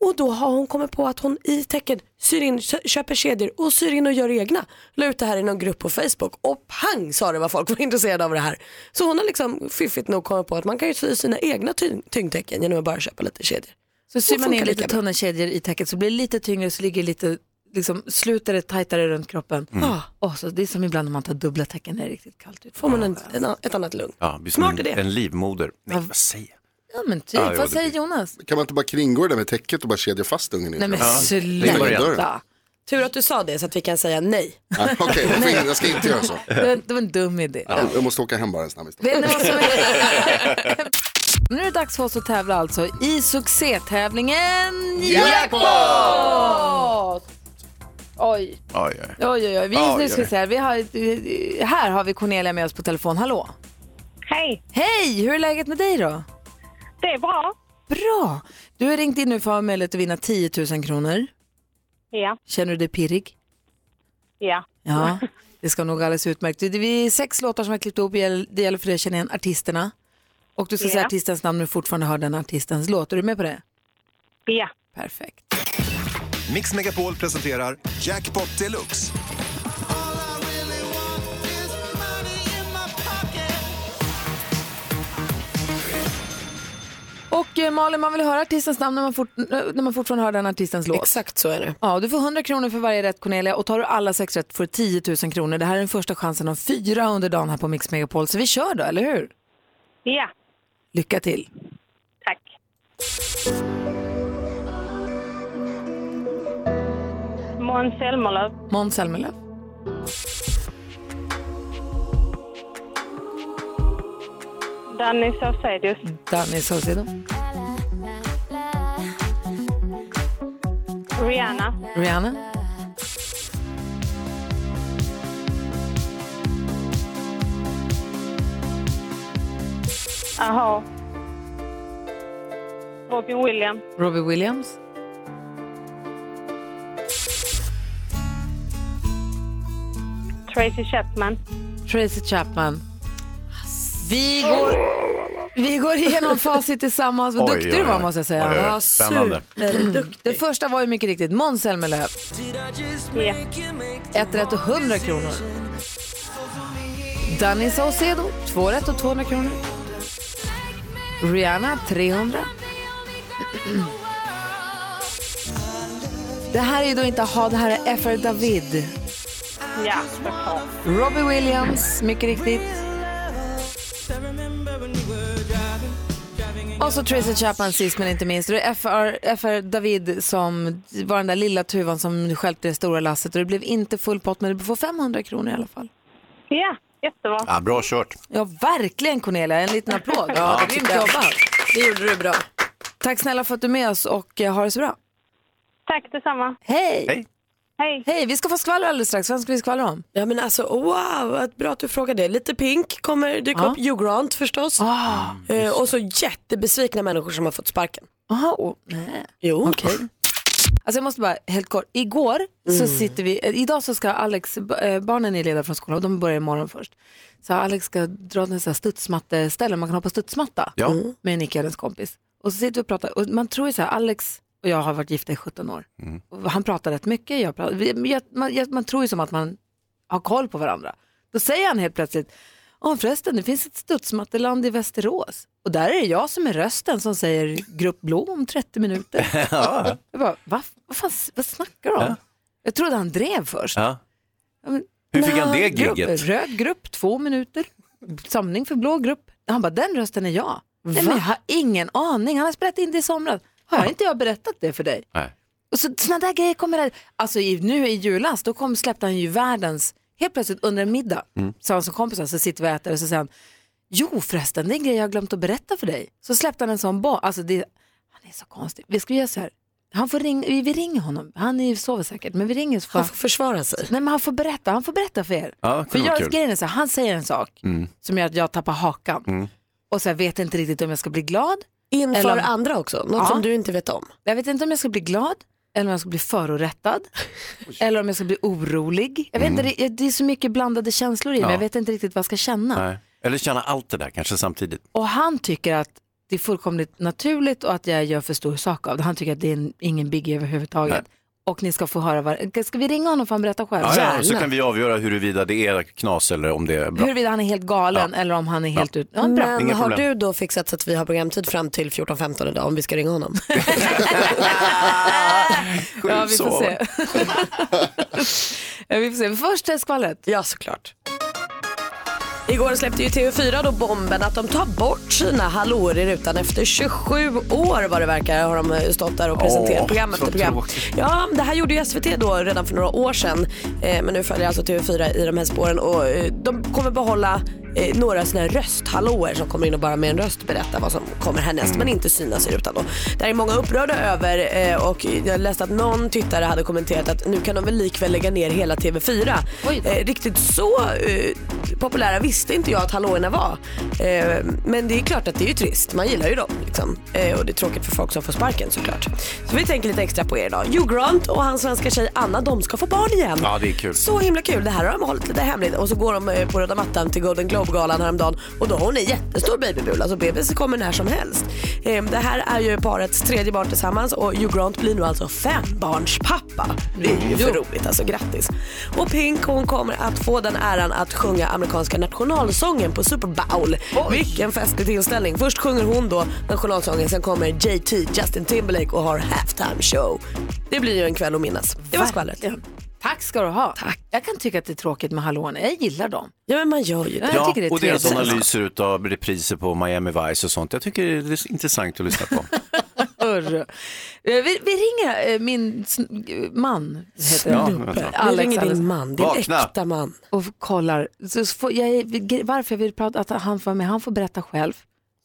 Speaker 3: Och då har hon kommit på att hon i tecken syr in, kö- köper kedjor och syr in och gör egna. La ut det här i någon grupp på Facebook och pang sa det vad folk var intresserade av det här. Så hon har liksom fiffigt nog kommit på att man kan ju sy sina egna tyng- tyngdtecken genom att bara köpa lite kedjor.
Speaker 1: Så syr
Speaker 3: Det
Speaker 1: man in
Speaker 3: funkar
Speaker 1: lite
Speaker 3: lika bra.
Speaker 1: tunna kedjor i täcket så blir det lite tyngre så ligger det lite liksom, sluter det tajtare runt kroppen.
Speaker 3: Mm.
Speaker 1: Och så, det är som ibland när man tar dubbla tecken när det är riktigt kallt ute.
Speaker 3: Får man en, en, ett annat lugn.
Speaker 2: Ja, vi som
Speaker 3: Smart
Speaker 2: en,
Speaker 3: idé.
Speaker 2: en livmoder. Nej, vad säger jag?
Speaker 1: Ja men typ,
Speaker 2: Ja,
Speaker 6: Ah,
Speaker 2: ja,
Speaker 1: vad
Speaker 2: det-
Speaker 1: säger Jonas?
Speaker 6: Kan man inte bara kringgå det där med täcket och bara kedja fast ungen i
Speaker 1: Nej, men
Speaker 6: Ja.
Speaker 1: sluta.
Speaker 6: Lägg den i dörren.
Speaker 3: Tur att du sa det så att vi kan säga nej.
Speaker 6: Ja, Ah, Okej, jag får in- jag ska inte göra så.
Speaker 1: Det var, det var en dum idé.
Speaker 6: Jag- Jag måste åka hem bara en snabbis.
Speaker 1: Vet ni vad som Nu är det dags för oss att tävla alltså i succétävlingen
Speaker 9: Jackpot!
Speaker 1: Oj,
Speaker 2: Oj, oj.
Speaker 1: oj, oj. oj. Vi,
Speaker 2: Oj,
Speaker 1: nu ska
Speaker 2: oj.
Speaker 1: vi se här. Vi har, här har vi Cornelia med oss på telefon. Hallå! Hej! Hej! Hur är läget med dig då? Det är bra. Bra! Du har ringt in nu för att ha möjlighet att vinna 10 000 kronor.
Speaker 10: Ja,
Speaker 1: Känner du dig pirrig?
Speaker 10: ja.
Speaker 1: Ja, det ska nog alldeles utmärkt. Det det är sex låtar som jag klippt ihop. Det gäller för dig att känna igen artisterna. Och du ska
Speaker 10: Ja.
Speaker 1: säga artistens namn när du fortfarande hör den artistens låt. Är du med på det?
Speaker 10: Ja.
Speaker 1: Perfekt.
Speaker 11: Mix Megapol presenterar Jackpot Deluxe.
Speaker 1: Och eh, Malin, man vill höra artistens namn när man, fort, när man fortfarande hör den artistens låt.
Speaker 3: Exakt så är det.
Speaker 1: Ja, du får 100 kronor för varje rätt Cornelia och tar du alla sex rätt får du 10 000 kronor. Det här är den första chansen av fyra under dagen här på Mix Megapol. Så vi kör då, eller hur?
Speaker 10: Ja.
Speaker 1: Lycka till.
Speaker 10: Tack. Måns Zelmerlöw.
Speaker 1: Måns Zelmerlöw.
Speaker 10: Danny Saucedos.
Speaker 1: Danny Saucedo.
Speaker 10: Rihanna.
Speaker 1: Rihanna.
Speaker 10: Aha. Robin Williams.
Speaker 1: Robbie Williams.
Speaker 10: Tracy Chapman.
Speaker 1: Tracy Chapman. Vi går, vi går igenom facit tillsammans. Vad
Speaker 10: Oj,
Speaker 1: duktig
Speaker 10: oj,
Speaker 1: du var
Speaker 10: oj.
Speaker 1: måste jag säga.
Speaker 10: Oj, oj, oj.
Speaker 1: Ja,
Speaker 10: Spännande.
Speaker 1: superduktig. Det första var ju mycket riktigt Måns Zelmerlöw.
Speaker 10: Ja.
Speaker 1: Ett rätt och 100 kronor. Danny Saucedo, två rätt och 200 kronor. Rihanna, 300. Det här är ju då inte ha, det här är FR David.
Speaker 10: Ja, såklart.
Speaker 1: Robbie Williams, mycket riktigt. Och så Tracy Chapman sist men inte minst. Det är FR, FR David som var den där lilla tuvan som stjälpte det stora lasset och det blev inte full pott men du får 500 kronor i alla fall.
Speaker 10: Ja, jättebra.
Speaker 2: Ja, bra kört.
Speaker 1: Ja, verkligen Cornelia. En liten applåd.
Speaker 2: Ja, det
Speaker 1: Grymt
Speaker 2: tycker jag.
Speaker 1: jobbat. Det gjorde du bra. Tack snälla för att du är med oss och eh, ha det så bra.
Speaker 10: Tack detsamma.
Speaker 1: Hej!
Speaker 2: Hej!
Speaker 10: Hej!
Speaker 1: Hej, vi ska få skvaller alldeles strax. Vem ska vi skvallra om?
Speaker 3: Ja men alltså wow, vad bra att du frågade. Lite Pink kommer dyka
Speaker 1: Ja.
Speaker 3: upp, Hugh Grant förstås.
Speaker 2: Ah.
Speaker 3: eh, och så jättebesvikna människor som har fått sparken.
Speaker 1: Aha, oh, nej.
Speaker 3: Jo.
Speaker 1: Alltså jag måste bara, helt kort. Igår
Speaker 10: Mm.
Speaker 1: så sitter vi, eh, idag så ska Alex, b- eh, barnen är lediga från skolan och de börjar imorgon först. Så Alex ska dra till en sån här studsmatteställe, man kan hoppa studsmatta
Speaker 10: Ja. Mm.
Speaker 1: med Nicky och hennes kompis. Och så sitter vi och pratar, och man tror ju så här, Alex och jag har varit gifta i 17 år.
Speaker 10: Mm.
Speaker 1: Och Han pratar rätt mycket, jag pratar, vi- men jag, man, jag, man tror ju som att man har koll på varandra. Då säger han helt plötsligt, Åh, förresten det finns ett studsmatteland i Västerås och där är det jag som är rösten som säger grupp blå om 30 minuter.
Speaker 2: Ja.
Speaker 1: Jag bara, Va, vad, fan, vad snackar du om?
Speaker 2: Ja.
Speaker 1: Jag trodde han drev först.
Speaker 2: Ja.
Speaker 1: Ja, men-
Speaker 2: Hur fick han det
Speaker 1: Grupp,
Speaker 2: gigget?
Speaker 1: röd grupp, två minuter, samling för blå grupp. Han bara, den rösten är jag. Nej, men jag har ingen aning, han har spelat in det i somras. Har jag inte jag berättat det för dig?
Speaker 2: Nej.
Speaker 1: Och så, såna där grejer kommer där. Alltså i, nu i julas, då kom, släppte han ju världens, helt plötsligt under en middag,
Speaker 10: Mm.
Speaker 1: sa han som kompisar, så sitter vi och äter och så säger han, jo förresten, det är en grej jag har glömt att berätta för dig. Så släppte han en sån bomb, alltså det, han är så konstig. Vi ska göra så här, han får ring, vi vi ringer honom, han är ju sover säkert, men vi ringer så får han får
Speaker 3: försvara sig.
Speaker 1: Nej men han får berätta, han får berätta för er.
Speaker 2: Ja,
Speaker 1: för
Speaker 2: det var
Speaker 1: jag,
Speaker 2: kul.
Speaker 1: grejen är så här, han säger en sak
Speaker 2: Mm.
Speaker 1: som gör att jag tappar hakan
Speaker 2: Mm.
Speaker 1: och så här, vet inte riktigt om jag ska bli glad.
Speaker 3: Inför
Speaker 1: eller om-
Speaker 3: andra också, något
Speaker 1: Ja.
Speaker 3: som du inte vet om.
Speaker 1: Jag vet inte om jag ska bli glad eller om jag ska bli förorättad eller om jag ska bli orolig. Jag vet
Speaker 2: Mm.
Speaker 1: inte, det, det är så mycket blandade känslor i mig,
Speaker 2: Ja.
Speaker 1: jag vet inte riktigt vad jag ska känna.
Speaker 2: Nej. Eller känna allt det där kanske samtidigt.
Speaker 1: Och han tycker att det är fullkomligt naturligt och att jag gör för stor sak av det. Han tycker att det är en, ingen biggie överhuvudtaget. och ni ska få höra vad... Ska vi ringa honom för han berättar själv?
Speaker 2: Ja, ja, så kan vi avgöra huruvida det är knas eller om det är bra.
Speaker 1: Huruvida han är helt galen eller om han är helt ut... Ja, bra.
Speaker 3: Men
Speaker 2: Inga
Speaker 3: har
Speaker 2: problem.
Speaker 3: du då fixat så att vi har programtid fram till 14.15 idag om vi ska ringa honom?
Speaker 1: Ja, vi får se. ja, vi får se. Först är skvallret.
Speaker 3: Ja, såklart. Igår släppte ju TV4 då bomben att de tar bort sina hallåor i rutan efter 27 år vad det verkar har de eh, stått där och presenterat
Speaker 12: Åh,
Speaker 3: program
Speaker 12: så
Speaker 3: efter program.
Speaker 12: tråkigt.
Speaker 3: Ja, det här gjorde ju SVT då redan för några år sedan eh, men nu följer alltså TV4 i de här spåren och eh, de kommer behålla eh, några sådana här rösthallåor som kommer in och bara med en röst berätta vad som kommer härnäst
Speaker 12: Mm.
Speaker 3: men inte synas i rutan då. Där är många upprörda över eh, och jag läste att någon tittare hade kommenterat att nu kan de väl likväl lägga ner hela TV4. Eh, riktigt så eh, populära visste inte jag att hallåorna var. Eh, men det är klart att det är ju trist. Man gillar ju dem. Liksom. Eh, och det är tråkigt för folk som får sparken såklart. Så vi tänker lite extra på er idag. Hugh Grant och hans svenska tjej Anna, de ska få barn igen.
Speaker 2: Ja, det är kul.
Speaker 3: Så himla kul. Det här har de hållit lite hemligt. Och så går de eh, på röda mattan till Golden Globe-galan häromdagen och då har hon en jättestor babybula. Alltså bebis kommer när som helst. Eh, Det här är ju parets tredje barn tillsammans och Hugh Grant blir nu alltså fembarnspappa. Det är ju för roligt alltså, grattis. Och Pink hon kommer att få den äran att sjunga amerikanska nationalsången på Super Bowl. Vilken festlig tillställning. Först sjunger hon då nationalsången, sen kommer JT, Justin Timberlake och har halftime show. Det blir ju en kväll att minnas. Det var skvallret.
Speaker 1: Tack ska du ha. Tack. Jag kan tycka att det är tråkigt med hallåorna. Jag gillar dem.
Speaker 3: Ja, men man gör ju
Speaker 1: det.
Speaker 2: Ja,
Speaker 1: jag tycker det är
Speaker 2: och deras
Speaker 1: trevligt.
Speaker 2: analyser av repriser på Miami Vice och sånt. Jag tycker det är intressant att lyssna på.
Speaker 1: Urr. Eh, Vi, vi ringer eh, min sn- man, heter
Speaker 2: Ja,
Speaker 1: han.
Speaker 2: vänta.
Speaker 3: Vi ringer din man, din
Speaker 2: Vakna.
Speaker 3: äkta man.
Speaker 1: Och kollar. Så får jag, gre- varför jag vill prata, att han får vara med, han får berätta själv.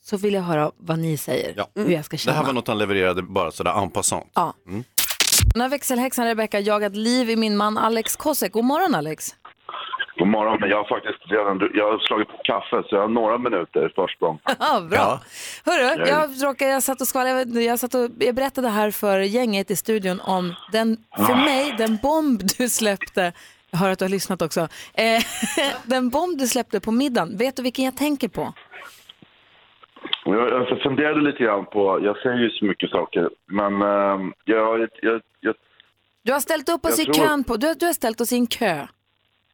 Speaker 1: Så vill jag höra vad ni säger, hur jag ska
Speaker 2: Det
Speaker 1: känna.
Speaker 2: här var något han levererade bara sådär en passant.
Speaker 1: Ja.
Speaker 2: Mm.
Speaker 1: Nu har växelhäxan Rebecka jagat liv i min man Alex Kosek. God morgon Alex.
Speaker 13: God morgon, men jag har faktiskt redan jag har slagit på kaffe så jag har några minuter försprång.
Speaker 1: Ja, Bra. Hörru,
Speaker 13: Hej.
Speaker 1: jag, råkade, jag satt och skvallrade, jag, satt och, jag berättade här för gänget i studion om den, för
Speaker 13: Ah.
Speaker 1: mig, den bomb du släppte, jag hör att du har lyssnat också, eh, den bomb du släppte på middagen, vet du vilken jag tänker på?
Speaker 13: Och Jag, jag funderade lite grann på, jag säger ju så mycket saker, men eh, jag, jag, jag,
Speaker 1: Du har ställt upp oss
Speaker 13: Jag
Speaker 1: i
Speaker 13: tror-
Speaker 1: kön på, du, har- du har ställt oss i en kö.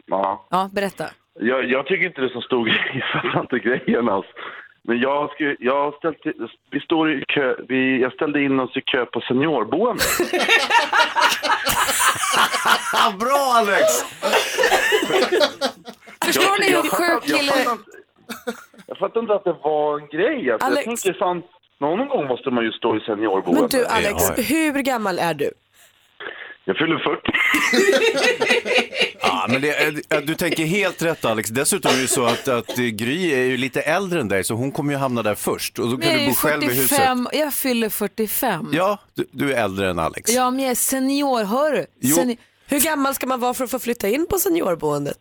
Speaker 13: ja.
Speaker 1: Ja, berätta.
Speaker 13: jag, jag tycker inte det är så stor grej, jag fattar inte grejen alls. Men jag, ska, ju- jag, har ställt, vi står i kö, vi, jag ställde in oss i kö på seniorboende.
Speaker 2: Bra Alex!
Speaker 1: Förstår ni hur
Speaker 13: jag fattar-
Speaker 1: sjuk kille...
Speaker 13: jag fattar Jag fattar inte att det var en grej. Alltså,
Speaker 3: Alex.
Speaker 13: Jag tänkte fan, någon gång måste man ju stå i seniorboende.
Speaker 3: Men du Alex,
Speaker 13: Ja, ja.
Speaker 3: hur gammal är du?
Speaker 13: Jag fyller 40.
Speaker 2: Ja, men det, eh, du tänker helt rätt Alex. Dessutom är det ju så att, att eh, Gry är ju lite äldre än dig så hon kommer ju hamna där först och då kan
Speaker 1: Jag
Speaker 2: du
Speaker 1: är
Speaker 2: bo
Speaker 1: ju
Speaker 2: själv i huset.
Speaker 1: 45, jag fyller 45.
Speaker 2: Ja, du, du är äldre än Alex.
Speaker 1: Ja, men jag är senior, hör du?
Speaker 2: Jo.
Speaker 1: Seni-
Speaker 3: Hur gammal ska man vara för att få flytta in på seniorboendet?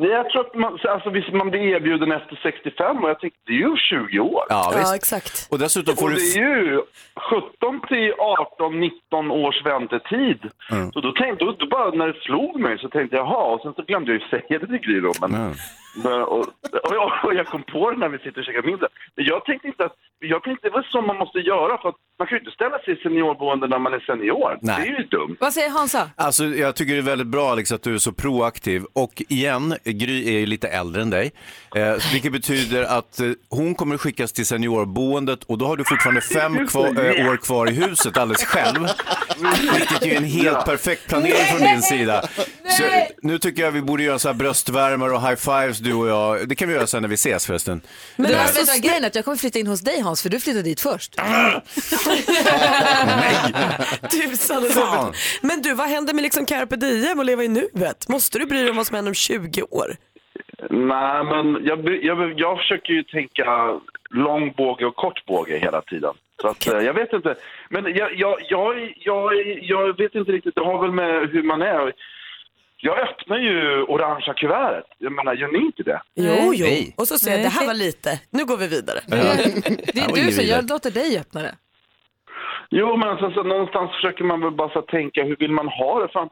Speaker 13: Nej, Jag tror att man, alltså, visst, man blir erbjuden efter 65 och jag tänkte det är ju 20 år.
Speaker 2: Ja, visst.
Speaker 3: exakt.
Speaker 2: Och dessutom får
Speaker 13: och det är
Speaker 2: du...
Speaker 13: ju 17 till 18, 19 års väntetid.
Speaker 2: Mm.
Speaker 13: Så då tänkte jag, då bara när det slog mig så tänkte jag, jaha, och sen så glömde jag ju säga det till Gry då. Men,
Speaker 2: Mm.
Speaker 13: men- och, och, jag- och jag kom på det när vi sitter och käkar middag. Men jag tänkte inte att, jag tänkte det var så man måste göra för att man kan ju inte ställa sig i seniorboende när man är senior.
Speaker 2: Nej.
Speaker 13: Det är ju dumt.
Speaker 1: Vad säger Hansa?
Speaker 2: Alltså, jag tycker det är väldigt bra Alex att du är så proaktiv. Och igen, Gry är ju lite äldre än dig. Eh, vilket betyder att eh, hon kommer skickas till seniorboendet och då har du fortfarande fem kvar, eh, år kvar i huset alldeles själv. Vilket är ju en helt perfekt planering från din sida. Så, eh, nu tycker jag vi borde göra så här bröstvärmar och high-fives du och jag. Det kan vi göra sen när vi ses förresten.
Speaker 1: Men
Speaker 2: Eh,
Speaker 1: alltså, vet du vad grejen är att jag kommer flytta in hos dig Hans, för du flyttade dit först.
Speaker 3: Tusan och
Speaker 2: Fan.
Speaker 3: dubbelt. Men du, vad händer med liksom carpe diem och leva i nuet? Måste du bry dig om vad som händer om 20 år?
Speaker 13: Nej, men jag, bry- jag, jag försöker ju tänka lång båge och kort båge hela tiden. Så att, eh, jag vet inte. Men jag, jag, jag, är- jag, är- jag vet inte riktigt, det har väl med hur man är. Jag öppnar ju orangea kuvertet. Jag menar, gör ni inte det?
Speaker 3: Jo, jo.
Speaker 13: Nej.
Speaker 3: Och så säger jag, det här var lite, nu går vi vidare.
Speaker 1: Det är du som jag låter dig öppna det.
Speaker 13: Jo, men alltså, så någonstans försöker man väl bara så här tänka, hur vill man ha det? Fan,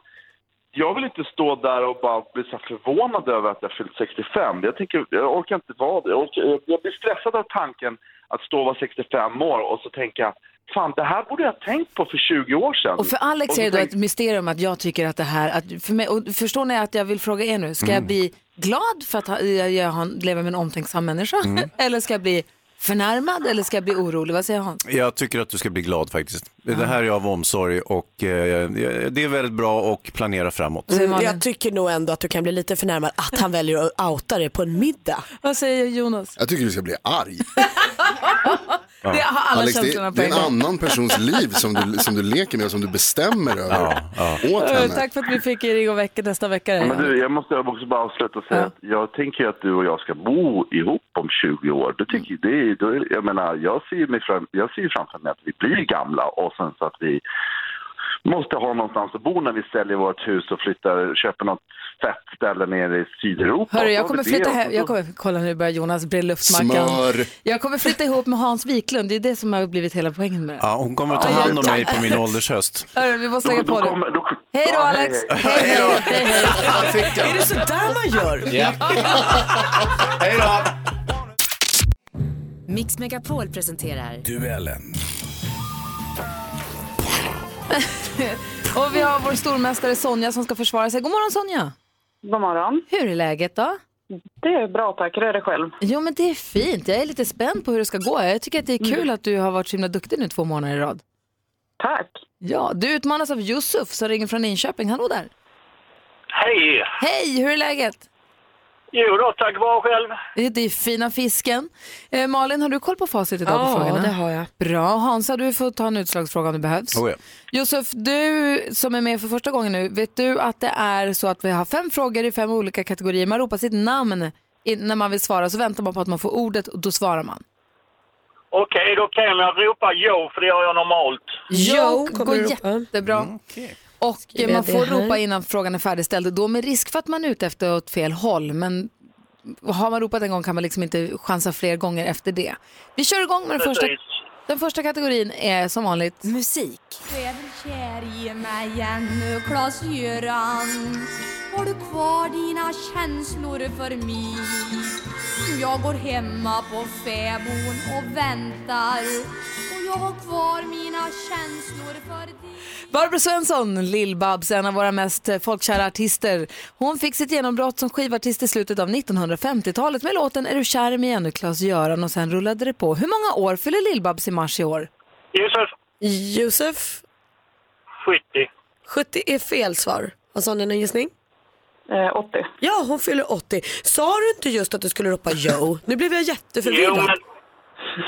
Speaker 13: jag vill inte stå där och bara bli så här förvånad över att jag fyllt 65. Jag, tänker, jag orkar inte vara det. Jag, orkar, jag blir stressad av tanken att stå och vara 65 år och så tänka, fan det här borde jag ha tänkt på för 20 år sedan.
Speaker 1: Och för Alex
Speaker 13: så
Speaker 1: är det då
Speaker 13: tänkte-
Speaker 1: ett mysterium att jag tycker att det här, att för mig, och förstår ni att jag vill fråga er nu, ska jag
Speaker 13: Mm.
Speaker 1: bli glad för att ha- jag, jag har- lever med en omtänksam människa?
Speaker 2: Mm.
Speaker 1: eller ska jag bli förnärmad eller ska jag bli orolig? Vad säger Hans?
Speaker 2: Jag tycker att du ska bli glad faktiskt. Det här är av omsorg och eh, det är väldigt bra och planera framåt.
Speaker 3: Mm, jag tycker nog ändå att du kan bli lite förnärmad att han väljer att outa dig på en middag.
Speaker 1: Vad säger Jonas?
Speaker 6: Jag tycker du ska bli arg.
Speaker 1: Ja. Det har alla
Speaker 6: Alex, det,
Speaker 1: känslorna på
Speaker 6: det är
Speaker 1: en
Speaker 6: en
Speaker 1: gång.
Speaker 6: annan persons liv som du, som du leker med och som du bestämmer över åt
Speaker 1: Eh,
Speaker 6: henne.
Speaker 1: Tack för att vi fick er igång vecka, nästa vecka. då.
Speaker 13: Men du, jag måste också bara avsluta och säga att jag tänker ju att du och jag ska bo ihop om 20 år. Det tycker jag, det, är- då, är- jag menar, jag ser ju mig fram, jag ser ju framför mig att vi blir gamla och sen så att vi måste ha någonstans att bo när vi säljer vårt hus och flyttar, köper något fett ställe nere i Sydeuropa.
Speaker 1: Hörru,
Speaker 13: Och
Speaker 1: jag
Speaker 13: så
Speaker 1: kommer
Speaker 13: har vi
Speaker 1: flytta
Speaker 13: det.
Speaker 1: hem, jag kommer, kolla nu börjar Jonas bre luftmackan.
Speaker 2: Smör.
Speaker 1: Jag kommer flytta ihop med Hans Wiklund, det är det som har blivit hela poängen med det.
Speaker 2: Ja, hon kommer att ta hand om mig på min åldershöst.
Speaker 1: Hörru, vi måste lägga
Speaker 2: Då- då
Speaker 1: på det.
Speaker 2: kommer-
Speaker 1: Hej då
Speaker 2: Ja, hej,
Speaker 1: Alex!
Speaker 2: hej.
Speaker 1: Hej, hej,
Speaker 2: Hej
Speaker 1: hej, hej.
Speaker 3: Är det sådär man gör?
Speaker 2: Ja. Hej då!
Speaker 12: Mix Megapol presenterar...
Speaker 14: Duellen.
Speaker 1: Och vi har vår stormästare Sonja som ska försvara sig. God morgon Sonja!
Speaker 10: God morgon.
Speaker 1: Hur är läget då?
Speaker 10: Det är bra tack, hur är det själv?
Speaker 1: Jo men det är fint, jag är lite spänd på hur det ska gå. Jag tycker att det är kul att du har varit så himla duktig nu två månader i rad.
Speaker 10: Tack!
Speaker 1: Ja, du utmanas av Yusuf som ringer från Linköping. Hallå där!
Speaker 15: Hej!
Speaker 1: Hej, hur är läget?
Speaker 15: Jo då, tack vare själv.
Speaker 1: Det det är fina fisken. Eh, Malin, har du koll på facit idag
Speaker 3: Ja,
Speaker 1: på frågorna?
Speaker 3: det har jag.
Speaker 1: Bra. Hansa, du får ta en utslagsfråga om det behövs.
Speaker 3: Oh ja.
Speaker 1: Josef, du som är med för första gången nu, vet du att det är så att vi har fem frågor i fem olika kategorier. Man ropar sitt namn i- när man vill svara, så väntar man på att man får ordet och då svarar man.
Speaker 15: Okej, då kan jag ropa jo, för det gör jag normalt.
Speaker 1: Jo, går jättebra. Och eh, man
Speaker 15: det
Speaker 1: får
Speaker 15: här.
Speaker 1: ropa innan frågan är färdigställd, då med risk för att man är ute efter åt fel håll. Men har man ropat en gång kan man liksom inte chansa fler gånger efter det. Vi kör igång med den första.
Speaker 15: Precis.
Speaker 1: Den första kategorin är som vanligt musik.
Speaker 16: Du är väl kär i mig ännu, Klas-Göran? Har du kvar dina känslor för mig? Jag går hemma på fäbon och väntar och jag har kvar mina känslor för dig
Speaker 1: Barbro Svensson, Lill-Babs, en av våra mest eh, folkkära artister. Hon fick sitt genombrott som skivartist i slutet av 1950-talet med låten Är du kär i mig ännu, Klas-Göran? Och sen rullade det på. Hur många år fyller Lill-Babs i mars i år?
Speaker 15: Josef,
Speaker 3: Josef,
Speaker 15: 70.
Speaker 3: 70 är fel svar. Vad sa ni, någon gissning?
Speaker 17: Eh,
Speaker 10: 80.
Speaker 3: Ja, hon fyller 80. Sa du inte just att du skulle ropa Joe? Nu blev jag jätteförvirrad.
Speaker 15: Jo, men...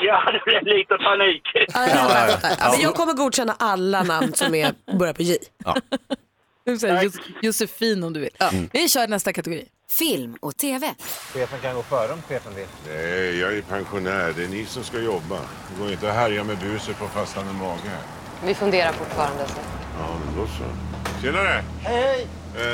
Speaker 15: Ja, det blev lite panik.
Speaker 3: Ja, men jag kommer godkänna alla namn som är, börjar på J.
Speaker 1: Du säger Jos- Josefin om du vill. Vi kör nästa kategori.
Speaker 12: Film och TV.
Speaker 18: Chefen kan gå före om chefen vill.
Speaker 19: Nej, jag är pensionär. Det är ni som ska jobba. Det går inte att härja med buset på fastande mage.
Speaker 20: Vi funderar fortfarande. Så.
Speaker 19: Ja, men då så. Tjenare!
Speaker 18: Hej!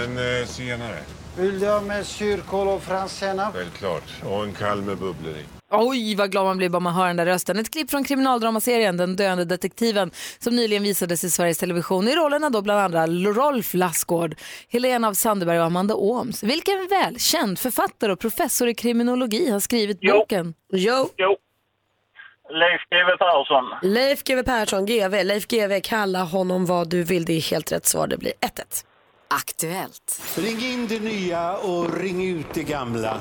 Speaker 19: En eh, senare.
Speaker 18: Vill du ha med surkål och fransk senap?
Speaker 19: Självklart. Och en kall med bubblor i.
Speaker 1: Oj, vad glad man blir bara man hör den där rösten. Ett klipp från kriminaldramaserien Den döende detektiven som nyligen visades i Sveriges Television i rollerna då bland andra Rolf Lassgård, Helena av Sandberg och Amanda Ooms. Vilken välkänd författare och professor i kriminologi har skrivit boken?
Speaker 3: Jo.
Speaker 15: jo. Leif GW Persson.
Speaker 3: Leif GW Persson, GV. Leif GW, kalla honom vad du vill. Det är helt rätt svar. Det blir 1-1.
Speaker 12: Aktuellt.
Speaker 18: Ring in det nya och ring ut det gamla.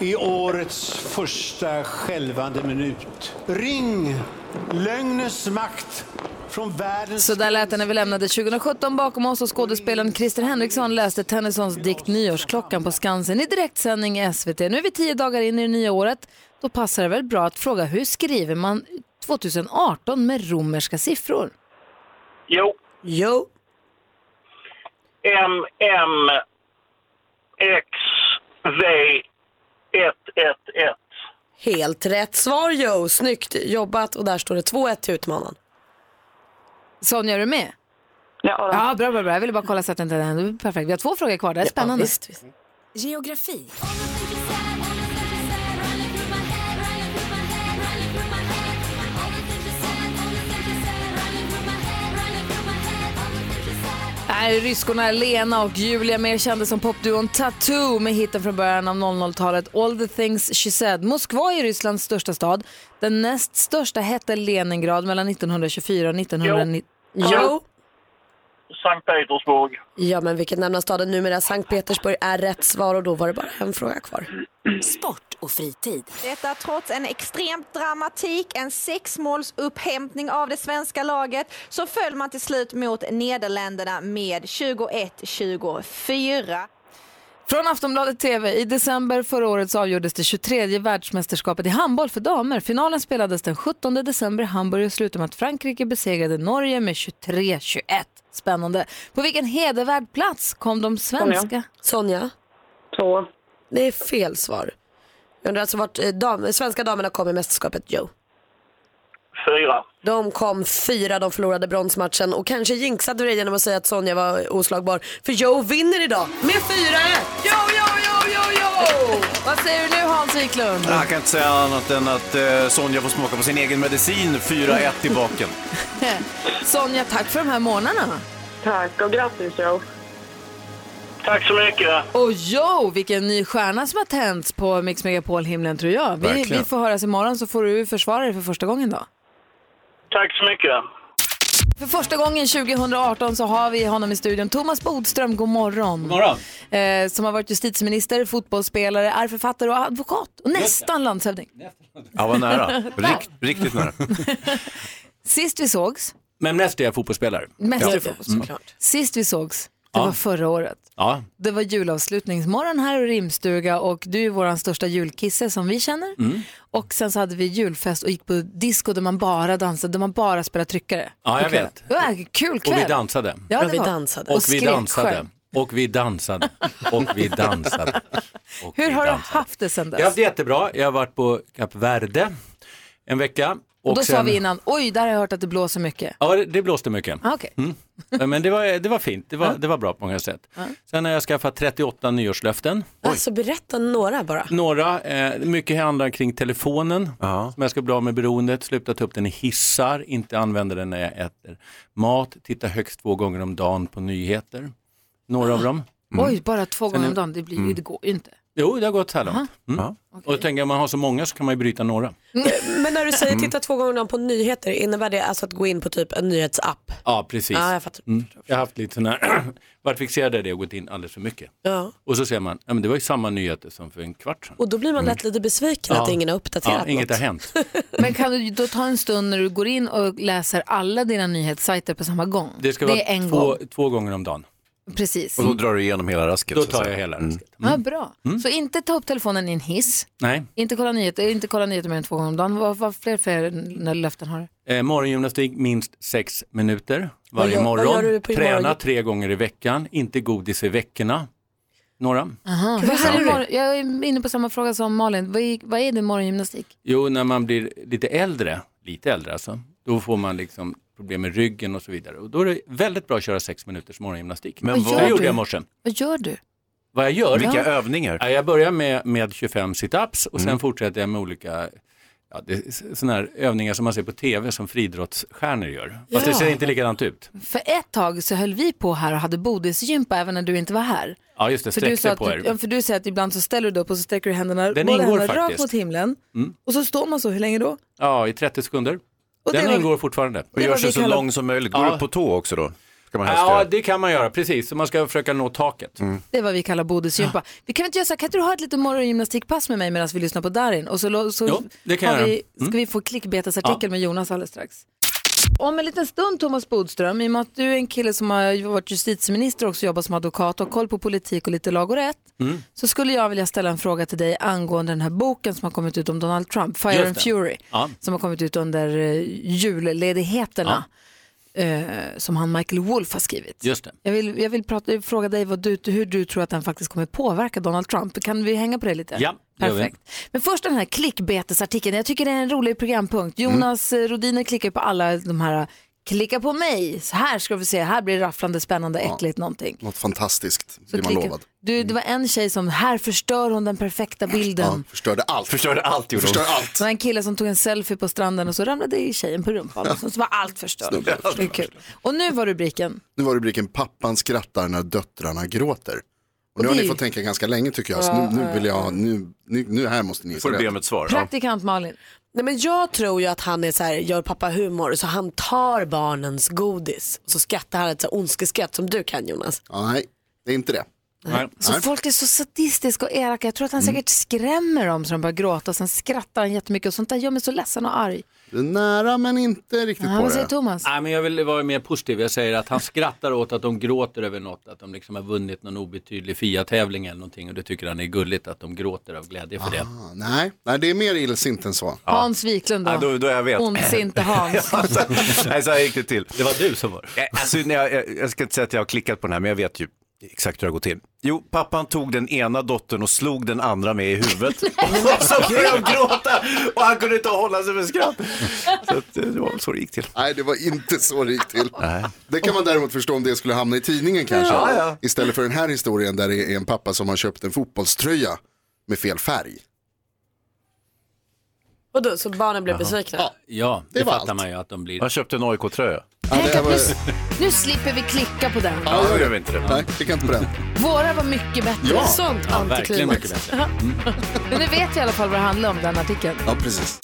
Speaker 18: I årets första skälvande minut. Ring lögnens makt från världens...
Speaker 1: Så där lät det när vi lämnade 2017 bakom oss och skådespelaren Christer Henriksson läste Tennysons dikt Nyårsklockan på Skansen i direktsändning i SVT. Nu är vi tio dagar in i det nya året. Då passar det väl bra att fråga hur skriver man 2018 med romerska siffror?
Speaker 15: Jo.
Speaker 3: Jo.
Speaker 15: M, M, X, V, 1, 1, 1.
Speaker 3: Helt rätt svar Joe. Snyggt jobbat. Och där står det 2-1 till utmanaren.
Speaker 1: Sonja, är du med?
Speaker 10: Ja,
Speaker 1: ja bra, bra, bra. Jag ville bara kolla så att det inte hände. Perfekt. Vi har två frågor kvar. Det är spännande.
Speaker 3: visst,
Speaker 12: Geografi.
Speaker 1: Nej, Här är ryskorna Lena och Julia mer kända som popduon Tattoo med hitten från början av 00-talet All the things she said. Moskva är Rysslands största stad. Den näst största hette Leningrad mellan 1924 och 1990.
Speaker 3: Jo.
Speaker 15: Sankt Petersburg.
Speaker 3: Ja, men vilken nämna staden numera? Sankt Petersburg är rätt svar och då var det bara en fråga kvar.
Speaker 12: Sport och fritid.
Speaker 17: Detta trots en extremt dramatik, en sexmålsupphämtning av det svenska laget, så föll man till slut mot Nederländerna med 21-24.
Speaker 1: Från Aftonbladet TV. I december förra året så avgjordes det 23 världsmästerskapet i handboll för damer. Finalen spelades den 17 december i Hamburg och slutade med att Frankrike besegrade Norge med 23-21. Spännande. På vilken hedervärd plats kom de svenska?
Speaker 3: Sonja?
Speaker 17: Två.
Speaker 3: Det är fel svar. Jag undrar alltså vart eh, dam, svenska damerna kom i mästerskapet Joe.
Speaker 15: Fyra.
Speaker 3: De kom fyra, de förlorade bronsmatchen och kanske jinxade du det genom att säga att Sonja var oslagbar. För Joe vinner idag med 4-1!
Speaker 1: Jo, jo, jo, jo, jo! Vad säger du nu Hans Wiklund?
Speaker 2: Jag kan inte säga annat än att eh, Sonja får smaka på sin egen medicin 4-1 i baken.
Speaker 1: Sonja, tack för de här månaderna.
Speaker 17: Tack och grattis Joe.
Speaker 15: Tack så mycket.
Speaker 1: Och jo, vilken ny stjärna som har tänts på Mix Megapol-himlen tror jag. Vi,
Speaker 15: Verkligen.
Speaker 1: vi får höras imorgon så får du försvara dig för första gången då.
Speaker 15: Tack så mycket.
Speaker 1: För första gången 2018 så har vi honom i studion. Thomas Bodström, god morgon. God
Speaker 14: morgon.
Speaker 1: Eh, som har varit justitieminister, fotbollsspelare, är författare och advokat. Och nästan landshövding.
Speaker 14: Ja, var nära.
Speaker 1: Tack.
Speaker 14: riktigt nära.
Speaker 1: Sist vi sågs,
Speaker 14: Men mest är jag fotbollsspelare.
Speaker 1: mest
Speaker 14: ja. Mm.
Speaker 1: såklart. Sist vi sågs, det
Speaker 14: Ja.
Speaker 1: var förra året.
Speaker 14: Ja.
Speaker 1: Det var julavslutningsmorgon här i rimstuga och du är vår största julkisse som vi känner.
Speaker 14: Mm.
Speaker 1: Och sen så hade vi julfest och gick på disco där man bara dansade, där man bara spelade tryckare.
Speaker 14: Ja, jag
Speaker 1: på kvällen.
Speaker 14: vet.
Speaker 1: Det var en kul kväll.
Speaker 14: Och vi dansade.
Speaker 1: Ja, det Och vi var- dansade.
Speaker 14: Och,
Speaker 1: och
Speaker 14: vi
Speaker 1: skrek
Speaker 14: dansade.
Speaker 1: själv.
Speaker 14: Och vi dansade. Och vi dansade.
Speaker 1: Hur har du haft det sen dess?
Speaker 14: Jag har haft det jättebra. Jag har varit på Kap Verde en vecka.
Speaker 1: och, då sa
Speaker 14: sen-
Speaker 1: vi innan, oj, där har jag hört att det blåser mycket.
Speaker 14: Ja, det, det blåste mycket.
Speaker 1: Ah, Okej.
Speaker 14: Mm. Men det var, det var fint. Det var, det var bra på många sätt.
Speaker 1: Ja.
Speaker 14: Sen har jag skaffat 38 nyårslöften.
Speaker 3: Alltså berätta några bara.
Speaker 14: Några, eh, mycket handlar kring telefonen som jag ska bli av med beroendet, sluta ta upp den i hissar, inte använda den när jag äter mat, titta högst två gånger om dagen på nyheter. Några av dem. Mm.
Speaker 1: Oj, bara två
Speaker 14: Sen
Speaker 1: gånger
Speaker 14: är-
Speaker 1: om dagen, det, blir,
Speaker 14: Mm.
Speaker 1: det går ju inte.
Speaker 14: Jo, det har gått så här långt. Mm. Och tänker jag, om man har så många så kan man ju bryta några.
Speaker 3: Men när du säger
Speaker 14: Mm.
Speaker 3: titta två gånger om dagen på nyheter, innebär det alltså att gå in på typ en nyhetsapp?
Speaker 14: Ja, precis.
Speaker 3: Ja, jag fattar.
Speaker 14: Mm. Jag har haft lite sån här, varit fixerad i det och gått in alldeles för mycket.
Speaker 3: Ja.
Speaker 14: Och så ser man, ja, men det var ju samma nyheter som för en kvart sedan.
Speaker 3: Och då blir man lätt lite besviken att
Speaker 14: Mm. Ja.
Speaker 3: ingen har uppdaterat
Speaker 14: Ja, inget
Speaker 3: något.
Speaker 14: har hänt.
Speaker 1: Men kan du då ta en stund när du går in och läser alla dina nyhetssajter på samma gång?
Speaker 14: Det ska
Speaker 1: det
Speaker 14: vara
Speaker 1: är en
Speaker 14: två,
Speaker 1: gång,
Speaker 14: två gånger om dagen.
Speaker 1: precis.
Speaker 14: Och då
Speaker 2: drar du igenom hela rasket.
Speaker 14: Då tar jag hela rasket.
Speaker 1: Ja, bra. Så inte ta upp telefonen i en hiss,
Speaker 14: Mm. Nej.
Speaker 1: inte kolla nyheter, inte kolla nyheter mer än två gånger om dagen. Vad, vad fler, fler n- löften har du?
Speaker 14: Eh, morgongymnastik minst sex minuter
Speaker 1: Vad
Speaker 14: varje
Speaker 1: gör- vad
Speaker 14: morgon.
Speaker 1: gör du på
Speaker 14: Träna
Speaker 1: morgon-
Speaker 14: tre gånger i veckan, inte godis i veckorna. Några?
Speaker 1: Aha. Ah, Vad är det mor- jag är inne på samma fråga som Malin. Vad är, vad är det morgongymnastik?
Speaker 14: Jo, när man blir lite äldre, lite äldre alltså, då får man liksom problem med ryggen och så vidare. Och då är det väldigt bra att köra sex minuters morgongymnastik.
Speaker 1: Men Vad vad- gör
Speaker 14: det
Speaker 1: du?
Speaker 14: gjorde jag i morse.
Speaker 1: Vad gör du?
Speaker 14: Vad jag gör?
Speaker 1: Vilka Ja.
Speaker 14: övningar? Jag börjar med, med 25 sit-ups och sen fortsätter jag med olika ja, det- såna här övningar som man ser på tv som friidrottsstjärnor gör. Fast det
Speaker 1: Ja.
Speaker 14: ser inte likadant ut.
Speaker 1: För ett tag så höll vi på här och hade bodisgympa även när du inte var här.
Speaker 14: Ja, just det,
Speaker 1: För du,
Speaker 14: sträck
Speaker 1: sa
Speaker 14: dig
Speaker 1: att
Speaker 14: på
Speaker 1: du,
Speaker 14: er.
Speaker 1: ja, för du säger att ibland så ställer du dig upp och så sträcker du händerna,
Speaker 14: Den
Speaker 1: båda
Speaker 14: ingår
Speaker 1: händerna rakt
Speaker 14: faktiskt.
Speaker 1: mot himlen.
Speaker 14: Mm.
Speaker 1: Och så står man så, hur länge då?
Speaker 14: Ja, i 30 sekunder.
Speaker 1: Och det
Speaker 14: Den
Speaker 1: var-
Speaker 14: ingår fortfarande.
Speaker 1: Och det gör var sig vi så kallar- lång
Speaker 2: som möjligt. Går
Speaker 14: Ja.
Speaker 2: du på tå också då? Ska man helst
Speaker 14: Ja,
Speaker 2: göra.
Speaker 14: det kan man göra, precis. Så man ska försöka nå taket.
Speaker 1: Det är vad vi kallar bodisgympa.
Speaker 14: Ah.
Speaker 1: Vi kan väl inte göra så här, kan inte du ha ett litet morgongymnastikpass med mig medan vi lyssnar på Darin? Och så, lo- så
Speaker 14: Jo, det kan
Speaker 1: har
Speaker 14: jag
Speaker 1: vi,
Speaker 14: göra. Mm.
Speaker 1: ska vi få klickbetesartikel
Speaker 14: Ja.
Speaker 1: med Jonas alldeles strax. Om en liten stund Thomas Bodström, i och med att du är en kille som har varit justitieminister och också jobbat som advokat och har koll på politik och lite lag och rätt,
Speaker 14: Mm.
Speaker 1: så skulle jag vilja ställa en fråga till dig angående den här boken som har kommit ut om Donald Trump, Fire
Speaker 14: Just
Speaker 1: and
Speaker 14: det.
Speaker 1: Fury,
Speaker 14: Ja.
Speaker 1: som har kommit ut under eh, julledigheterna, eh, som han Michael Wolff har skrivit.
Speaker 14: Just det.
Speaker 1: Jag vill, jag vill prata, fråga dig vad du, hur du tror att den faktiskt kommer påverka Donald Trump. Kan vi hänga på det lite?
Speaker 14: Ja, det gör vi.
Speaker 1: Perfekt. Men först den här eh, klickbetesartikeln. Jag tycker det är en rolig programpunkt. Jonas mm. Rodiner klickar på alla de här Klicka på mig. Så här ska vi se, här blir det rafflande, spännande, äckligt någonting.
Speaker 6: Något fantastiskt blir man
Speaker 1: klicka-
Speaker 6: lovad.
Speaker 1: Du, det var en tjej som, här förstör hon den perfekta bilden.
Speaker 6: Förstörde allt.
Speaker 2: Förstörde allt, gjorde hon.
Speaker 6: Förstör allt.
Speaker 1: Det var en kille som tog en selfie på stranden och så ramlade i tjejen på rumpan. Och så så var allt förstört.
Speaker 6: Snubblade.
Speaker 1: Det är kul. Och nu var rubriken.
Speaker 6: Nu var rubriken Pappan skrattar när döttrarna gråter. Och nu har
Speaker 1: det
Speaker 6: ni
Speaker 1: är ju-
Speaker 6: fått tänka ganska länge tycker jag. Så
Speaker 3: Ja,
Speaker 6: nu, nu
Speaker 3: ja,
Speaker 6: vill jag, nu, nu, nu här måste ni
Speaker 2: Får det bli om ett svar? Ja.
Speaker 1: Praktikant Malin.
Speaker 3: Nej, men jag tror ju att han är så här, gör pappa humor så han tar barnens godis och så skrattar han ett så här ondskeskratt som du kan Jonas.
Speaker 6: Nej, det är inte det.
Speaker 3: Nej.
Speaker 1: Så folk är så sadistiska och elaka. Jag tror att han
Speaker 6: Mm.
Speaker 1: säkert skrämmer dem så de börjar gråta och sen skrattar han jättemycket och sånt där gör mig så ledsen och arg.
Speaker 6: Du är nära men inte riktigt
Speaker 1: ja, Vad säger Thomas?
Speaker 14: Nej, men jag vill vara mer positiv. Jag säger att han skrattar åt att de gråter över något, att de liksom har vunnit någon obetydlig FIA-tävling eller någonting och det tycker han är gulligt att de gråter av glädje för det.
Speaker 6: Ah, nej, nej, det är mer illsint än så.
Speaker 1: Hans Wiklund då?
Speaker 2: Ja, då- då jag vet.
Speaker 1: Ondsinte Hans.
Speaker 2: Ja, så- Nej, så här gick det till. Det var du som var alltså, när jag, jag, jag ska inte säga att jag har klickat på den här, men jag vet ju exakt hur det går till. Jo, pappan tog den ena dottern och slog den andra med i huvudet. och så började de gråta och han kunde inte hålla sig för skratt. Så att, eh, det var så det gick till.
Speaker 6: Nej, det var inte så det gick till. Det kan man däremot förstå om det skulle hamna i tidningen kanske.
Speaker 2: Ja, ja.
Speaker 6: Istället för den här historien där det är en pappa som har köpt en fotbollströja med fel färg.
Speaker 3: Och då, så barnen blev
Speaker 2: Jaha.
Speaker 3: besvikna?
Speaker 14: Ja,
Speaker 6: Det
Speaker 14: det,
Speaker 6: var
Speaker 14: fattar
Speaker 6: allt.
Speaker 14: man ju att de blir.
Speaker 2: Han köpte en AIK-tröja.
Speaker 1: Tänk att nu, s- nu slipper vi klicka på den.
Speaker 2: Ja, då gör vi inte det.
Speaker 6: Nej, klicka inte på den.
Speaker 1: Våra var mycket bättre.
Speaker 6: Ja.
Speaker 1: Sånt
Speaker 6: Ja, verkligen
Speaker 1: antiklimax.
Speaker 6: mycket bättre.
Speaker 1: Men nu vet vi i alla fall vad det handlar om, den artikeln.
Speaker 6: Ja, precis.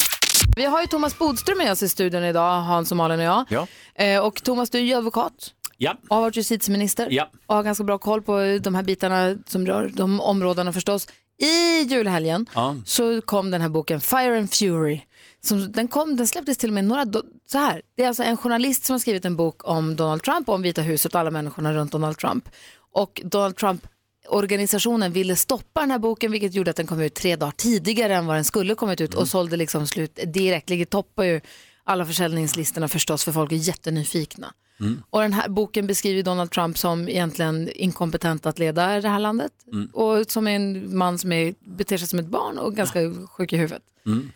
Speaker 1: Vi har ju Thomas Bodström med oss i studion idag, Hans och Malin och jag.
Speaker 14: Ja.
Speaker 1: Eh, och Thomas, du är ju advokat
Speaker 14: Ja.
Speaker 1: och har varit justitieminister
Speaker 14: Ja.
Speaker 1: och har ganska bra koll på de här bitarna som rör de områdena förstås. I julhelgen
Speaker 14: Ja.
Speaker 1: så kom den här boken Fire and Fury. Som, den, kom, den släpptes till och med några... do- Så här, det är alltså en journalist som har skrivit en bok om Donald Trump, om Vita huset och alla människorna runt Donald Trump. Och Donald Trump-organisationen ville stoppa den här boken vilket gjorde att den kom ut tre dagar tidigare än vad den skulle kommit
Speaker 14: Mm.
Speaker 1: ut och sålde liksom slut direkt. Ligger toppar ju alla försäljningslistorna förstås för folk är jättenyfikna.
Speaker 21: Mm.
Speaker 1: Och den här boken beskriver Donald Trump som egentligen inkompetent att leda det här landet
Speaker 21: Mm.
Speaker 1: och som är en man som är, beter sig som ett barn och ganska sjuk i huvudet.
Speaker 14: Mm.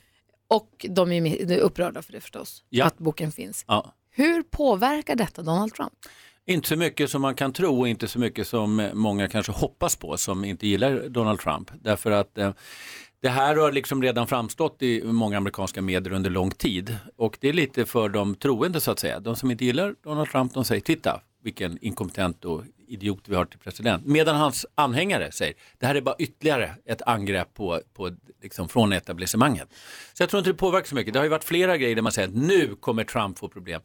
Speaker 1: Och de är mi- upprörda för det förstås,
Speaker 14: Ja.
Speaker 1: att boken finns.
Speaker 14: Ja.
Speaker 1: Hur påverkar detta Donald Trump?
Speaker 14: Inte så mycket som man kan tro och inte så mycket som eh, många kanske hoppas på som inte gillar Donald Trump. Därför att eh, det här har liksom redan framstått i många amerikanska medier under lång tid och det är lite för de troende så att säga. De som inte gillar Donald Trump de säger titta vilken inkompetent och idiot vi har till president. Medan hans anhängare säger det här är bara ytterligare ett angrepp på, på, liksom, från etablissemanget. Så jag tror inte det påverkar så mycket. Det har ju varit flera grejer där man säger att nu kommer Trump få problem.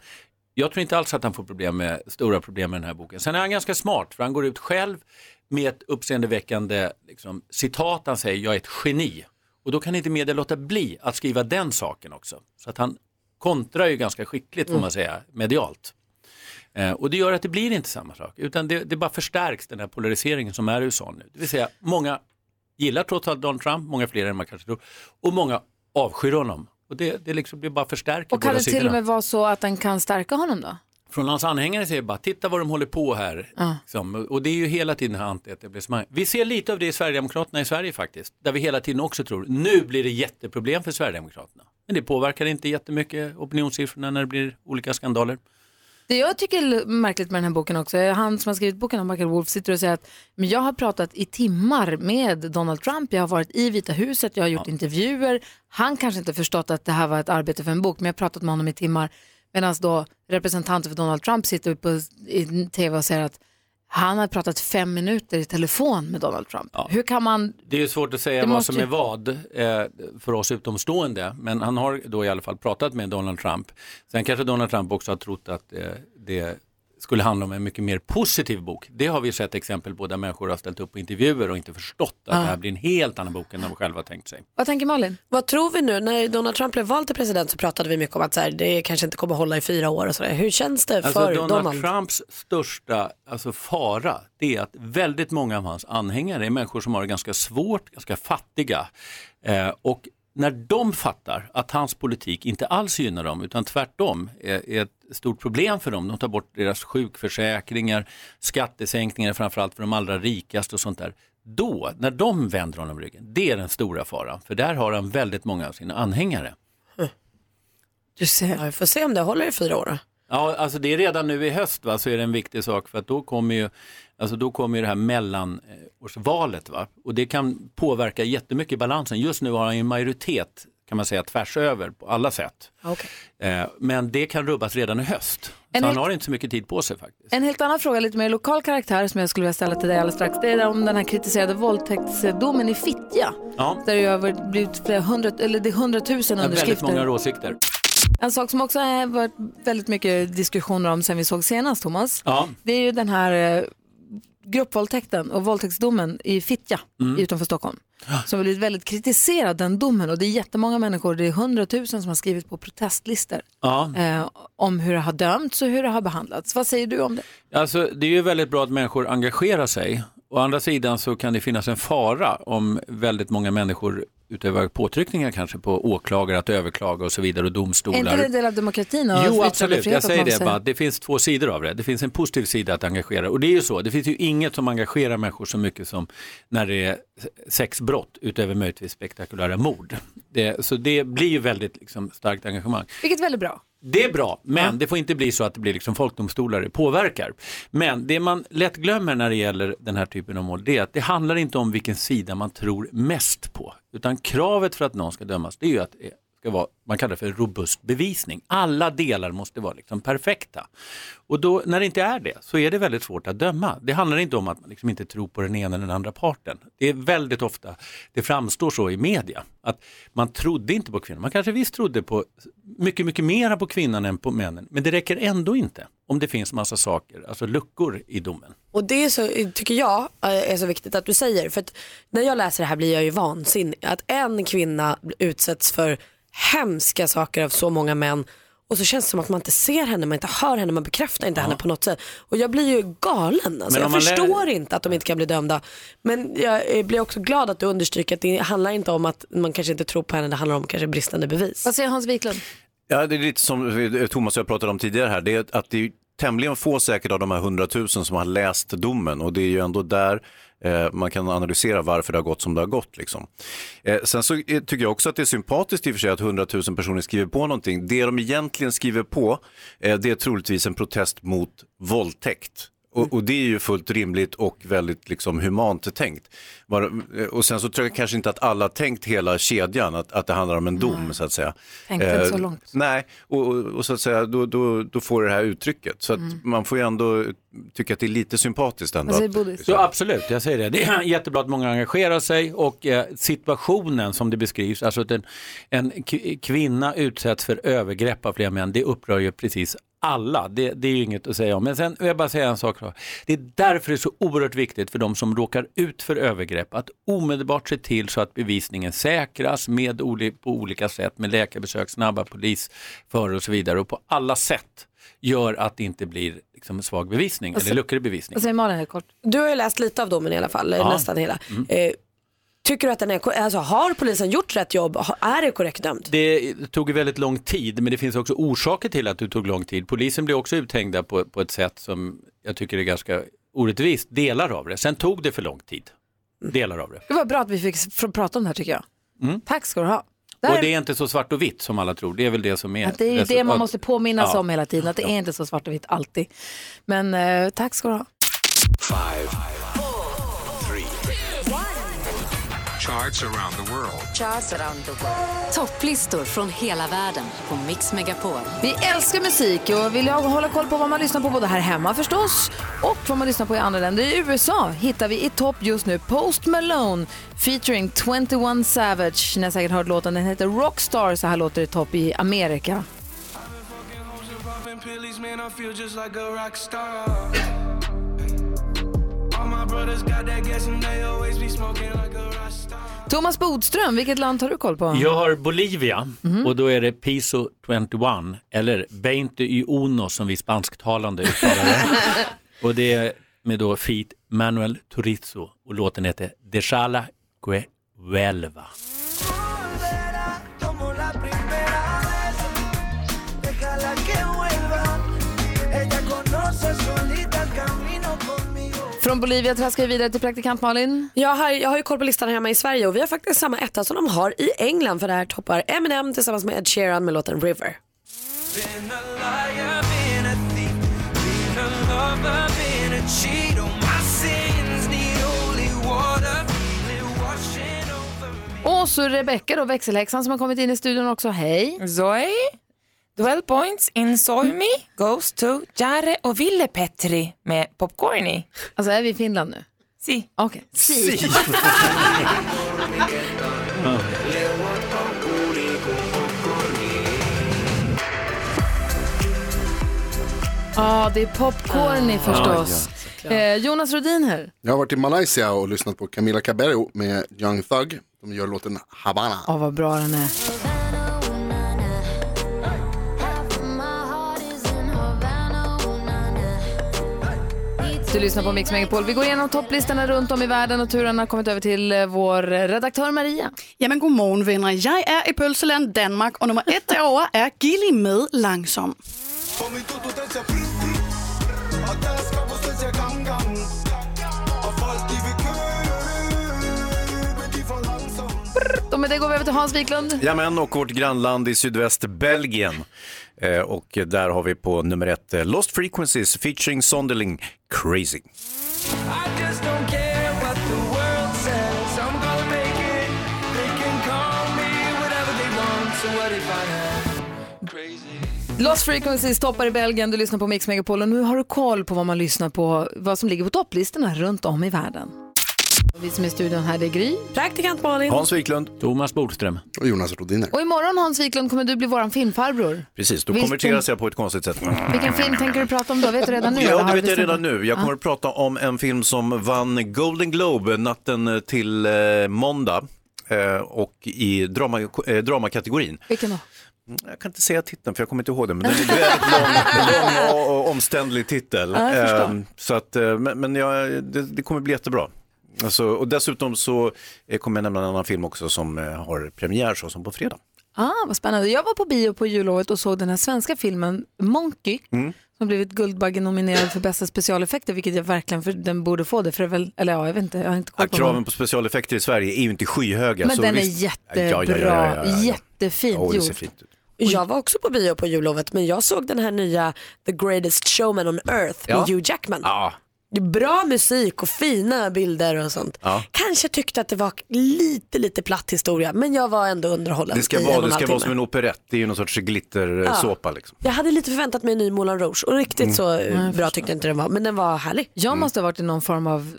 Speaker 14: Jag tror inte alls att han får problem med, stora problem med den här boken. Sen är han ganska smart för han går ut själv med ett uppseendeväckande liksom, citat. Han säger jag är ett geni. Och då kan inte media låta bli att skriva den saken också. Så att han kontrar ju ganska skickligt får
Speaker 22: Mm.
Speaker 14: man säga medialt. Eh, och det gör att det blir inte samma sak utan det, det bara förstärks den här polariseringen som är i USA nu. Det vill säga många gillar trots allt Donald Trump, många fler än man kanske tror och många avskyr honom. Och det, det liksom blir bara förstärker
Speaker 1: Och kan
Speaker 14: båda
Speaker 1: det till
Speaker 14: sidorna.
Speaker 1: och med vara så att den kan stärka honom då?
Speaker 14: Från hans anhängare säger bara, titta vad de håller på här.
Speaker 1: Ja.
Speaker 14: Liksom. Och det är ju hela tiden det här antietablissemanget. Vi ser lite av det i Sverigedemokraterna i Sverige faktiskt. Där vi hela tiden också tror, nu blir det jätteproblem för Sverigedemokraterna. Men det påverkar inte jättemycket opinionssiffrorna när det blir olika skandaler.
Speaker 1: Det jag tycker är märkligt med den här boken också, är han som har skrivit boken, Michael Wolff, sitter och säger att men jag har pratat i timmar med Donald Trump, jag har varit i Vita huset, jag har gjort intervjuer. Han kanske inte förstått att det här var ett arbete för en bok, men jag har pratat med honom i timmar. Medan då representanter för Donald Trump sitter på, i tv och säger att han har pratat fem minuter i telefon med Donald Trump. Hur kan man
Speaker 14: Det är ju svårt att säga
Speaker 1: Det
Speaker 14: vad
Speaker 1: måste
Speaker 14: som är
Speaker 1: ju-
Speaker 14: vad eh, för oss utomstående, men han har då i alla fall pratat med Donald Trump. Sen kanske Donald Trump också har trott att eh, det skulle handla om en mycket mer positiv bok. Det har vi sett exempel på där människor har ställt upp på intervjuer och inte förstått att
Speaker 1: Ah.
Speaker 3: Ja.
Speaker 14: det här blir en helt annan bok än de själva tänkt sig.
Speaker 1: Vad tänker Malin?
Speaker 3: Vad tror vi nu? När Donald Trump blev vald till president så pratade vi mycket om att så här, det kanske inte kommer hålla i fyra år och sådär. Hur känns det för
Speaker 14: Alltså Donald,
Speaker 3: Donald?
Speaker 14: Trumps största alltså fara det är att väldigt många av hans anhängare är människor som har det ganska svårt, ganska fattiga. Eh, och när de fattar att hans politik inte alls gynnar dem utan tvärtom är, är ett stort problem för dem. De tar bort deras sjukförsäkringar, skattesänkningar framförallt för de allra rikaste och sånt där. Då, när de vänder honom ryggen, det är den stora faran. För där har han väldigt många av sina anhängare.
Speaker 3: Du ser. Ja, vi får se om det håller i fyra år då.
Speaker 14: Ja, alltså det är redan nu i höst va, så är det en viktig sak för att då kommer ju, alltså då kommer ju det här mellanårsvalet va? och det kan påverka jättemycket i balansen. Just nu har han ju en majoritet kan man säga tvärs över på alla sätt.
Speaker 1: Okej.
Speaker 14: Eh, men det kan rubbas redan i höst.
Speaker 1: En
Speaker 14: så han
Speaker 1: hel-
Speaker 14: har inte så mycket tid på sig faktiskt.
Speaker 1: En helt annan fråga, lite mer lokal karaktär som jag skulle vilja ställa till dig alldeles strax. Det är om den här kritiserade våldtäktsdomen i Fittja.
Speaker 14: Ja.
Speaker 1: Där det ju har blivit flera hundra, eller det är hundratusen
Speaker 14: Det är väldigt många
Speaker 1: underskrifter.
Speaker 14: åsikter.
Speaker 1: En sak som också har varit väldigt mycket diskussioner om sen vi såg senast, Thomas.
Speaker 14: Ja.
Speaker 1: Det är ju den här eh, gruppvåldtäkten och våldtäktsdomen i Fittja
Speaker 14: Mm.
Speaker 1: utanför Stockholm. Som har blivit väldigt kritiserad, den domen. Och det är jättemånga människor, det är hundratusen som har skrivit på protestlistor
Speaker 14: Ja.
Speaker 1: eh, om hur det har dömts och hur det har behandlats. Vad säger du om det?
Speaker 14: Alltså, det är ju väldigt bra att människor engagerar sig. Å andra sidan så kan det finnas en fara om väldigt många människor utövar påtryckningar kanske på åklagare att överklaga och så vidare och
Speaker 1: Är inte det en
Speaker 14: domstolar.
Speaker 1: del av demokratin? Och
Speaker 14: Jo, absolut.
Speaker 1: yttrandefrihet
Speaker 14: Jag
Speaker 1: att
Speaker 14: säger
Speaker 1: man
Speaker 14: det bara. att Det finns två sidor av det. Det finns en positiv sida att engagera och det är ju så. Det finns ju inget som engagerar människor så mycket som när det är sexbrott utöver möjligtvis spektakulära mord. Det, så det blir ju väldigt liksom, starkt engagemang.
Speaker 1: Vilket är väldigt bra.
Speaker 14: Det är bra, men det får inte bli så att det blir liksom folkdomstolar det påverkar. Men det man lätt glömmer när det gäller den här typen av mål det är att det handlar inte om vilken sida man tror mest på. Utan kravet för att någon ska dömas det är ju att det ska vara, man kallar det för robust bevisning. Alla delar måste vara liksom perfekta. Och då, när det inte är det så är det väldigt svårt att döma. Det handlar inte om att man liksom inte tror på den ena eller den andra parten. Det är väldigt ofta det framstår så i media. Att man trodde inte på kvinnan. Man kanske visst trodde på mycket, mycket mera på kvinnan än på männen. Men det räcker ändå inte om det finns massa saker, alltså luckor i domen.
Speaker 3: Och det är så, tycker jag eh, är så viktigt att du säger. För att när jag läser det här blir jag ju vansinnig. Att en kvinna utsätts för hemska saker av så många män. Och så känns det som att man inte ser henne, man inte hör henne, man bekräftar inte henne på något sätt. Och jag blir ju galen. Alltså.
Speaker 14: Men
Speaker 3: Jag
Speaker 14: om man lä-
Speaker 3: förstår inte att de inte kan bli dömda. Men jag eh, blir också glad att du understryker att det handlar inte om att man kanske inte tror på henne, det handlar om kanske bristande bevis.
Speaker 1: Vad säger Hans Wiklund?
Speaker 2: Ja, det är lite som vi- Thomas och jag pratade om tidigare här. Det är att det är tämligen få säkert av de här hundratusen som har läst domen och det är ju ändå där eh, man kan analysera varför det har gått som det har gått. Liksom. Eh, sen så eh, tycker jag också att det är sympatiskt i och för sig att hundratusen personer skriver på någonting. Det de egentligen skriver på eh, det är troligtvis en protest mot våldtäkt. Och, och det är ju fullt rimligt och väldigt liksom humant tänkt. Var, eh, och sen så tror jag kanske inte att alla har tänkt hela kedjan, att, att det handlar om en dom så att säga. Eh,
Speaker 21: Tänkte inte så långt.
Speaker 2: Nej, och, och, och så att säga, då, då, då får det här uttrycket. Så att
Speaker 21: Mm.
Speaker 2: man får ju ändå tycka att det är lite sympatiskt ändå.
Speaker 14: Ja, absolut, jag säger det. Det är jättebra att många engagerar sig och eh, situationen som det beskrivs, alltså att en, en k- kvinna utsätts för övergrepp av flera män, det upprör ju precis alla. Det, det är ju inget att säga om. Men sen vill jag bara säga en sak. då. Det är därför det är så oerhört viktigt för de som råkar ut för övergrepp att omedelbart se till så att bevisningen säkras med oli- på olika sätt, med läkarbesök, snabba polisförhör och så vidare och på alla sätt gör att det inte blir liksom, svag bevisning
Speaker 3: Och så-
Speaker 14: eller luckor i bevisningen.
Speaker 1: Vad säger Malin helt kort?
Speaker 3: Du har ju läst lite av domen i alla fall,
Speaker 14: Ja.
Speaker 3: nästan hela.
Speaker 14: Mm.
Speaker 3: Eh, tycker du att den är, alltså, har polisen gjort rätt jobb? Ha- Är det korrekt dömt?
Speaker 14: Det tog ju väldigt lång tid, men det finns också orsaker till att det tog lång tid. Polisen blev också uthängda på, på ett sätt som jag tycker är ganska orättvist, delar av det. Sen tog det för lång tid, delar av det.
Speaker 1: Det var bra att vi fick s- få prata om det här tycker jag.
Speaker 14: Mm.
Speaker 1: Tack ska du ha. Där,
Speaker 14: Och det är inte så svart och vitt som alla tror, det är väl det som är...
Speaker 1: att det är ju det man
Speaker 14: resultat.
Speaker 1: måste påminnas
Speaker 14: Ja.
Speaker 1: om hela tiden, att det är inte så svart och vitt alltid. Men eh, tack ska du ha.
Speaker 11: Five, three. Charts around the world.
Speaker 12: Charts around the world. Topplistor från hela världen på Mix Megapol.
Speaker 1: Vi älskar musik och vill jag hålla koll på vad man lyssnar på både här hemma förstås och vad man lyssnar på i andra länder. I USA hittar vi i topp just nu Post Malone featuring 21 Savage. Ni har säkert hört låten, den heter Rockstar. Så här låter det i topp i Amerika.
Speaker 22: Popping pillies, man, I feel just like a rock star. All my brothers got that gas and they always be smoking like a rock star.
Speaker 1: Thomas Bodström, vilket land tar du koll på?
Speaker 14: Jag har Bolivia
Speaker 1: Mhm.
Speaker 14: och då är det Piso 21 eller 20 y uno som vi spansktalande uttalar det. Och det är med då Feat Manuel Turizo och låten heter Deshala Que Vuelva.
Speaker 22: Como la primera vez, déjala que vuelva. Ella conoce solita el camino conmigo.
Speaker 1: Från Bolivia traskar vi vidare till praktikant Malin.
Speaker 3: Jag har, jag har ju koll på listan hemma i Sverige och vi har faktiskt samma etta som de har i England för det här toppar Eminem tillsammans med Ed Sheeran med låten River.
Speaker 22: Been a liar, been never been a cheat. All my sins need holy water. Feel it washing over.
Speaker 1: Och så Rebecka då, växelhäxan som har kommit in i studion också. Hej!
Speaker 21: Zoe, 12 points in Soy Me goes to Jare och Ville Petri med Popcorny.
Speaker 1: Alltså är vi i Finland nu?
Speaker 21: Si.
Speaker 1: Okej.
Speaker 21: Si.
Speaker 1: Ja, det är popcorn
Speaker 6: Ah.
Speaker 1: förstås.
Speaker 6: Ja, ja,
Speaker 1: eh, Jonas Rodin här.
Speaker 6: Jag har varit i Malaysia och lyssnat på Camila Cabello med Young Thug. De gör låten Havana.
Speaker 1: Ja, vad bra den är. Du lyssnar på Mix Megapol. Vi går igenom topplistorna runt om i världen och turen har kommit över till eh, vår redaktör Maria.
Speaker 4: Jamen godmorgen venner. Jeg er i Pølseland, Danmark, og nummer et derover er Gilly med Langsom.
Speaker 1: Och med det går vi över till Hans Wiklund.
Speaker 2: Jamen, och vårt grannland i sydväst Belgien. Eh, och där har vi på nummer ett eh, Lost Frequencies featuring Sonderling Crazy.
Speaker 22: Just don't care what the world says. I'm gonna make it. They can call me whatever they want. So what if I am crazy?
Speaker 1: Lost Frequencies toppar i Belgien. Du lyssnar på Mix Megapol och nu har du koll på vad man lyssnar på, vad som ligger på topplistorna runt om i världen. Och vi som är i studion här, det är Gry.
Speaker 4: Praktikant Malin.
Speaker 2: Wiklund.
Speaker 14: Thomas Bodström.
Speaker 6: Och Jonas Rodiner.
Speaker 1: Och imorgon Hans Wiklund kommer du bli våran filmfarbror.
Speaker 2: Precis, då
Speaker 1: Vilken-
Speaker 2: konverteras jag på ett konstigt sätt.
Speaker 1: Vilken film tänker du prata om då? Vet du redan nu? eller
Speaker 2: Ja,
Speaker 1: har
Speaker 2: det
Speaker 1: du
Speaker 2: vet jag
Speaker 1: bestämt
Speaker 2: redan
Speaker 1: dig?
Speaker 2: nu. Jag kommer att prata om en film som vann Golden Globe natten till eh, måndag eh, och i drama, eh, dramakategorin.
Speaker 1: Vilken då?
Speaker 2: Jag kan inte säga titeln för jag kommer inte ihåg den, men den är väldigt lång, lång och, och omständlig titel.
Speaker 1: Ja, jag förstår.
Speaker 2: Eh, så att, eh, men men jag, det, det kommer bli jättebra. Alltså, och dessutom så eh, kommer jag nämna en annan film också som eh, har premiär så som på fredag.
Speaker 1: Ah, vad spännande. Jag var på bio på jullovet och såg den här svenska filmen Monkey
Speaker 2: Mm.
Speaker 1: som blivit Guldbaggenominerad för bästa specialeffekter, vilket jag verkligen, för den borde få det, för det är väl, eller ja, jag vet inte, jag har inte
Speaker 2: Ja,
Speaker 1: koll på
Speaker 2: kraven
Speaker 1: den.
Speaker 2: på specialeffekter i Sverige är ju inte skyhöga.
Speaker 1: Men
Speaker 2: så
Speaker 1: den är
Speaker 2: visst-
Speaker 1: jättebra, jättefint
Speaker 2: Ja, det ser
Speaker 3: gjort.
Speaker 2: fint ut.
Speaker 3: Jag var också på bio på jullovet men jag såg den här nya The Greatest Showman on Earth
Speaker 2: Ja.
Speaker 3: med Hugh Jackman.
Speaker 2: Ja.
Speaker 3: Det är bra musik och fina bilder och sånt.
Speaker 2: Ja.
Speaker 3: Kanske tyckte att det var lite, lite platt historia men jag var ändå underhållen
Speaker 2: Det ska,
Speaker 3: i
Speaker 2: vara,
Speaker 3: en och
Speaker 2: det
Speaker 3: en
Speaker 2: ska
Speaker 3: halv
Speaker 2: vara
Speaker 3: timme.
Speaker 2: som en operett, det är ju någon sorts
Speaker 3: Ja.
Speaker 2: glittersåpa. Liksom.
Speaker 3: Jag hade lite förväntat mig en ny Moulin Rouge och riktigt
Speaker 2: Mm.
Speaker 3: så
Speaker 2: Nej, jag
Speaker 3: eh, bra tyckte jag inte den var. Men den var härlig.
Speaker 1: Jag
Speaker 2: Mm.
Speaker 1: måste ha varit i någon form av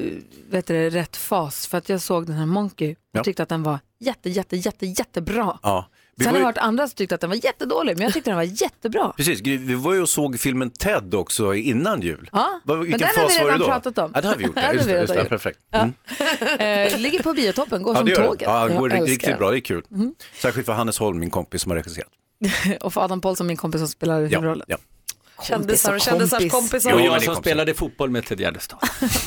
Speaker 1: eh, vet du, det, rätt fas för att jag såg den här Monkey och
Speaker 2: Ja.
Speaker 1: tyckte att den var jätte, jätte, jätte, jättebra.
Speaker 2: Ja. Vi var
Speaker 1: Sen har
Speaker 2: ju-
Speaker 1: jag hört andra som tyckte att den var jättedålig, men jag tyckte den var jättebra.
Speaker 2: Precis, Gry, vi var ju och såg filmen Ted också innan jul.
Speaker 1: Ja,
Speaker 2: Vad-
Speaker 1: men
Speaker 2: vilken
Speaker 1: den har
Speaker 2: fas
Speaker 1: vi
Speaker 2: var det
Speaker 1: redan
Speaker 2: då?
Speaker 1: pratat om.
Speaker 2: Ja, det har vi gjort.
Speaker 1: Den har
Speaker 2: Ja, just
Speaker 1: vi
Speaker 2: det, just det,
Speaker 1: redan
Speaker 2: perfekt. Mm.
Speaker 1: gjort. Eh, ligger på biotoppen, går
Speaker 2: Ja,
Speaker 1: som
Speaker 2: det gör det.
Speaker 1: tåget.
Speaker 2: Ja, det
Speaker 1: Jag
Speaker 2: går
Speaker 1: älskar
Speaker 2: riktigt
Speaker 1: den.
Speaker 2: bra, det är kul.
Speaker 1: Mm.
Speaker 2: Särskilt för Hannes Holm, min kompis som har regisserat.
Speaker 1: och för Adam Paulsson, min kompis som spelar huvudrollen.
Speaker 2: Ja.
Speaker 3: Kändisar och kändisars kompisar.
Speaker 14: Jo,
Speaker 2: Ja, men
Speaker 14: jag
Speaker 2: det
Speaker 14: som
Speaker 2: kom
Speaker 14: spelade fotboll med Ted Gärdestad.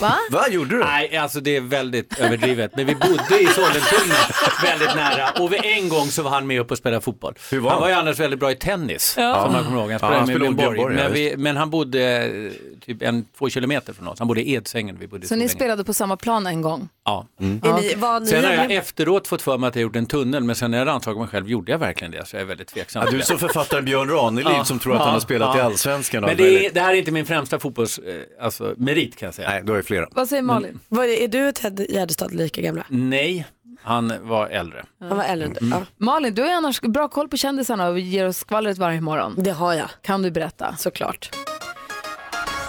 Speaker 1: Va?
Speaker 2: Vad gjorde du?
Speaker 14: Nej, alltså det är väldigt överdrivet. Men vi bodde i Sollentuna väldigt nära. Och vid en gång så var han med upp och spelade fotboll.
Speaker 2: var
Speaker 14: han var ju
Speaker 2: han?
Speaker 14: annars väldigt bra i tennis,
Speaker 2: Ja.
Speaker 14: som man kommer ihåg. Han
Speaker 2: Ja,
Speaker 14: spelade
Speaker 2: han
Speaker 14: med
Speaker 2: spelade
Speaker 14: Björn
Speaker 2: Björn
Speaker 14: Borg.
Speaker 2: Borg, ja,
Speaker 14: Men, vi, men han bodde eh, typ en, två kilometer från oss. Han bodde i Edsängen. Vi bodde i
Speaker 1: Så ni
Speaker 14: Solänge.
Speaker 1: spelade på samma plan en gång? Mm.
Speaker 14: Ja.
Speaker 1: Är ni- var ni-
Speaker 14: Sen har jag efteråt fått för mig att jag gjort en tunnel, men sen när jag rannsakade mig själv, gjorde jag verkligen det? Så jag är väldigt tveksam.
Speaker 2: Ja, du är som författaren Björn Ranelid som tror att han har spelat i Allsvenskan och
Speaker 14: Men
Speaker 2: allt
Speaker 14: det, är,
Speaker 2: möjligt.
Speaker 14: det här är inte min främsta fotbollsmerit alltså, merit kan jag säga.
Speaker 2: Nej, då är flera.
Speaker 1: Vad säger Malin?
Speaker 3: Vad är, är du Mm. och Ted Gärdestad lika gamla?
Speaker 14: Nej, han var äldre.
Speaker 3: Han var äldre. än du. Ja.
Speaker 1: Malin, du har ju annars bra koll på kändisarna och ger oss skvallret varje morgon.
Speaker 3: Det har jag.
Speaker 1: Kan du berätta?
Speaker 3: Såklart.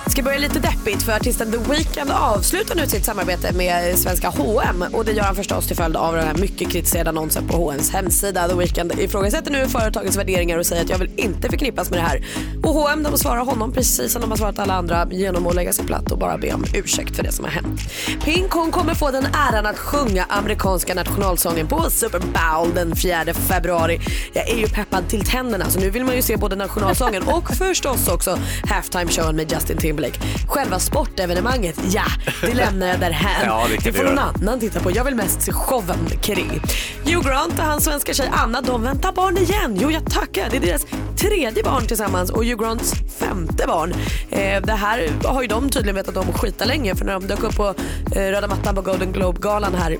Speaker 3: ska börja lite deppigt för artisten The Weeknd avslutar nu sitt samarbete med svenska H&M och det gör han förstås till följd av den här mycket kritiserade annonsen på H&M's hemsida. The Weeknd ifrågasätter nu företagets värderingar och säger att jag vill inte förknippas med det här. Och H&M de svarar honom precis som de har svarat alla andra genom att lägga sig platt och bara be om ursäkt för det som har hänt. Pink hon kommer få den äran att sjunga amerikanska nationalsången på Super Bowl den 4 februari. Jag är ju peppad till tänderna så nu vill man ju se både nationalsången och förstås också halftime-showen med Justin Timberlake. Själva sportevenemanget, ja, det lämnar jag därhän.
Speaker 22: Ja, det kan
Speaker 3: det
Speaker 22: vi
Speaker 3: får någon
Speaker 22: göra.
Speaker 3: annan titta på. Jag vill mest se showen kring. Hugh Grant och hans svenska tjej Anna, de väntar barn igen. Jo, jag tackar. Det är deras tredje barn tillsammans och Hugh Grants femte barn. Eh, det här har ju de tydligen vetat om skitlänge för när de dök upp på eh, röda mattan på Golden Globe-galan här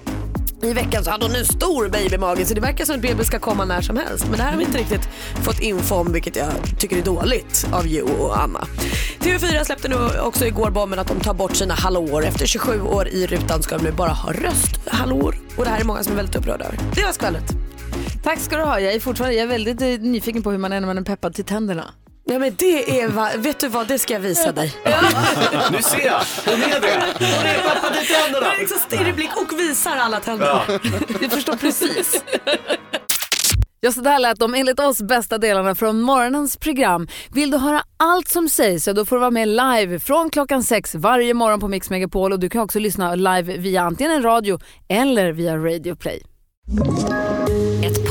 Speaker 3: I veckan så hade hon en stor babymage så det verkar som att bebis ska komma när som helst. Men det här har vi inte riktigt fått info om vilket jag tycker är dåligt av Jo och Anna. TV4 släppte nu också igår bomben att de tar bort sina hallåor. Efter 27 år i rutan ska de nu bara ha rösthallåor. Och det här är många som är väldigt upprörda över. Det var skvallret.
Speaker 1: Tack ska du ha. Jag är fortfarande jag är väldigt eh, nyfiken på hur man är när man är peppad till tänderna.
Speaker 3: Ja men det är, va, vet du vad, det ska jag visa dig.
Speaker 23: Nu ser jag! Hon är det! Hon är pappa till tänderna!
Speaker 3: Det är så stirrig blick och visar alla tänder.
Speaker 23: Ja.
Speaker 3: Du förstår precis.
Speaker 1: Ja, så där lät de enligt oss bästa delarna från morgonens program. Vill du höra allt som sägs, ja, då får du vara med live från klockan sex varje morgon på Mix Megapol och du kan också lyssna live via antingen en radio eller via Radio Play.
Speaker 24: Ett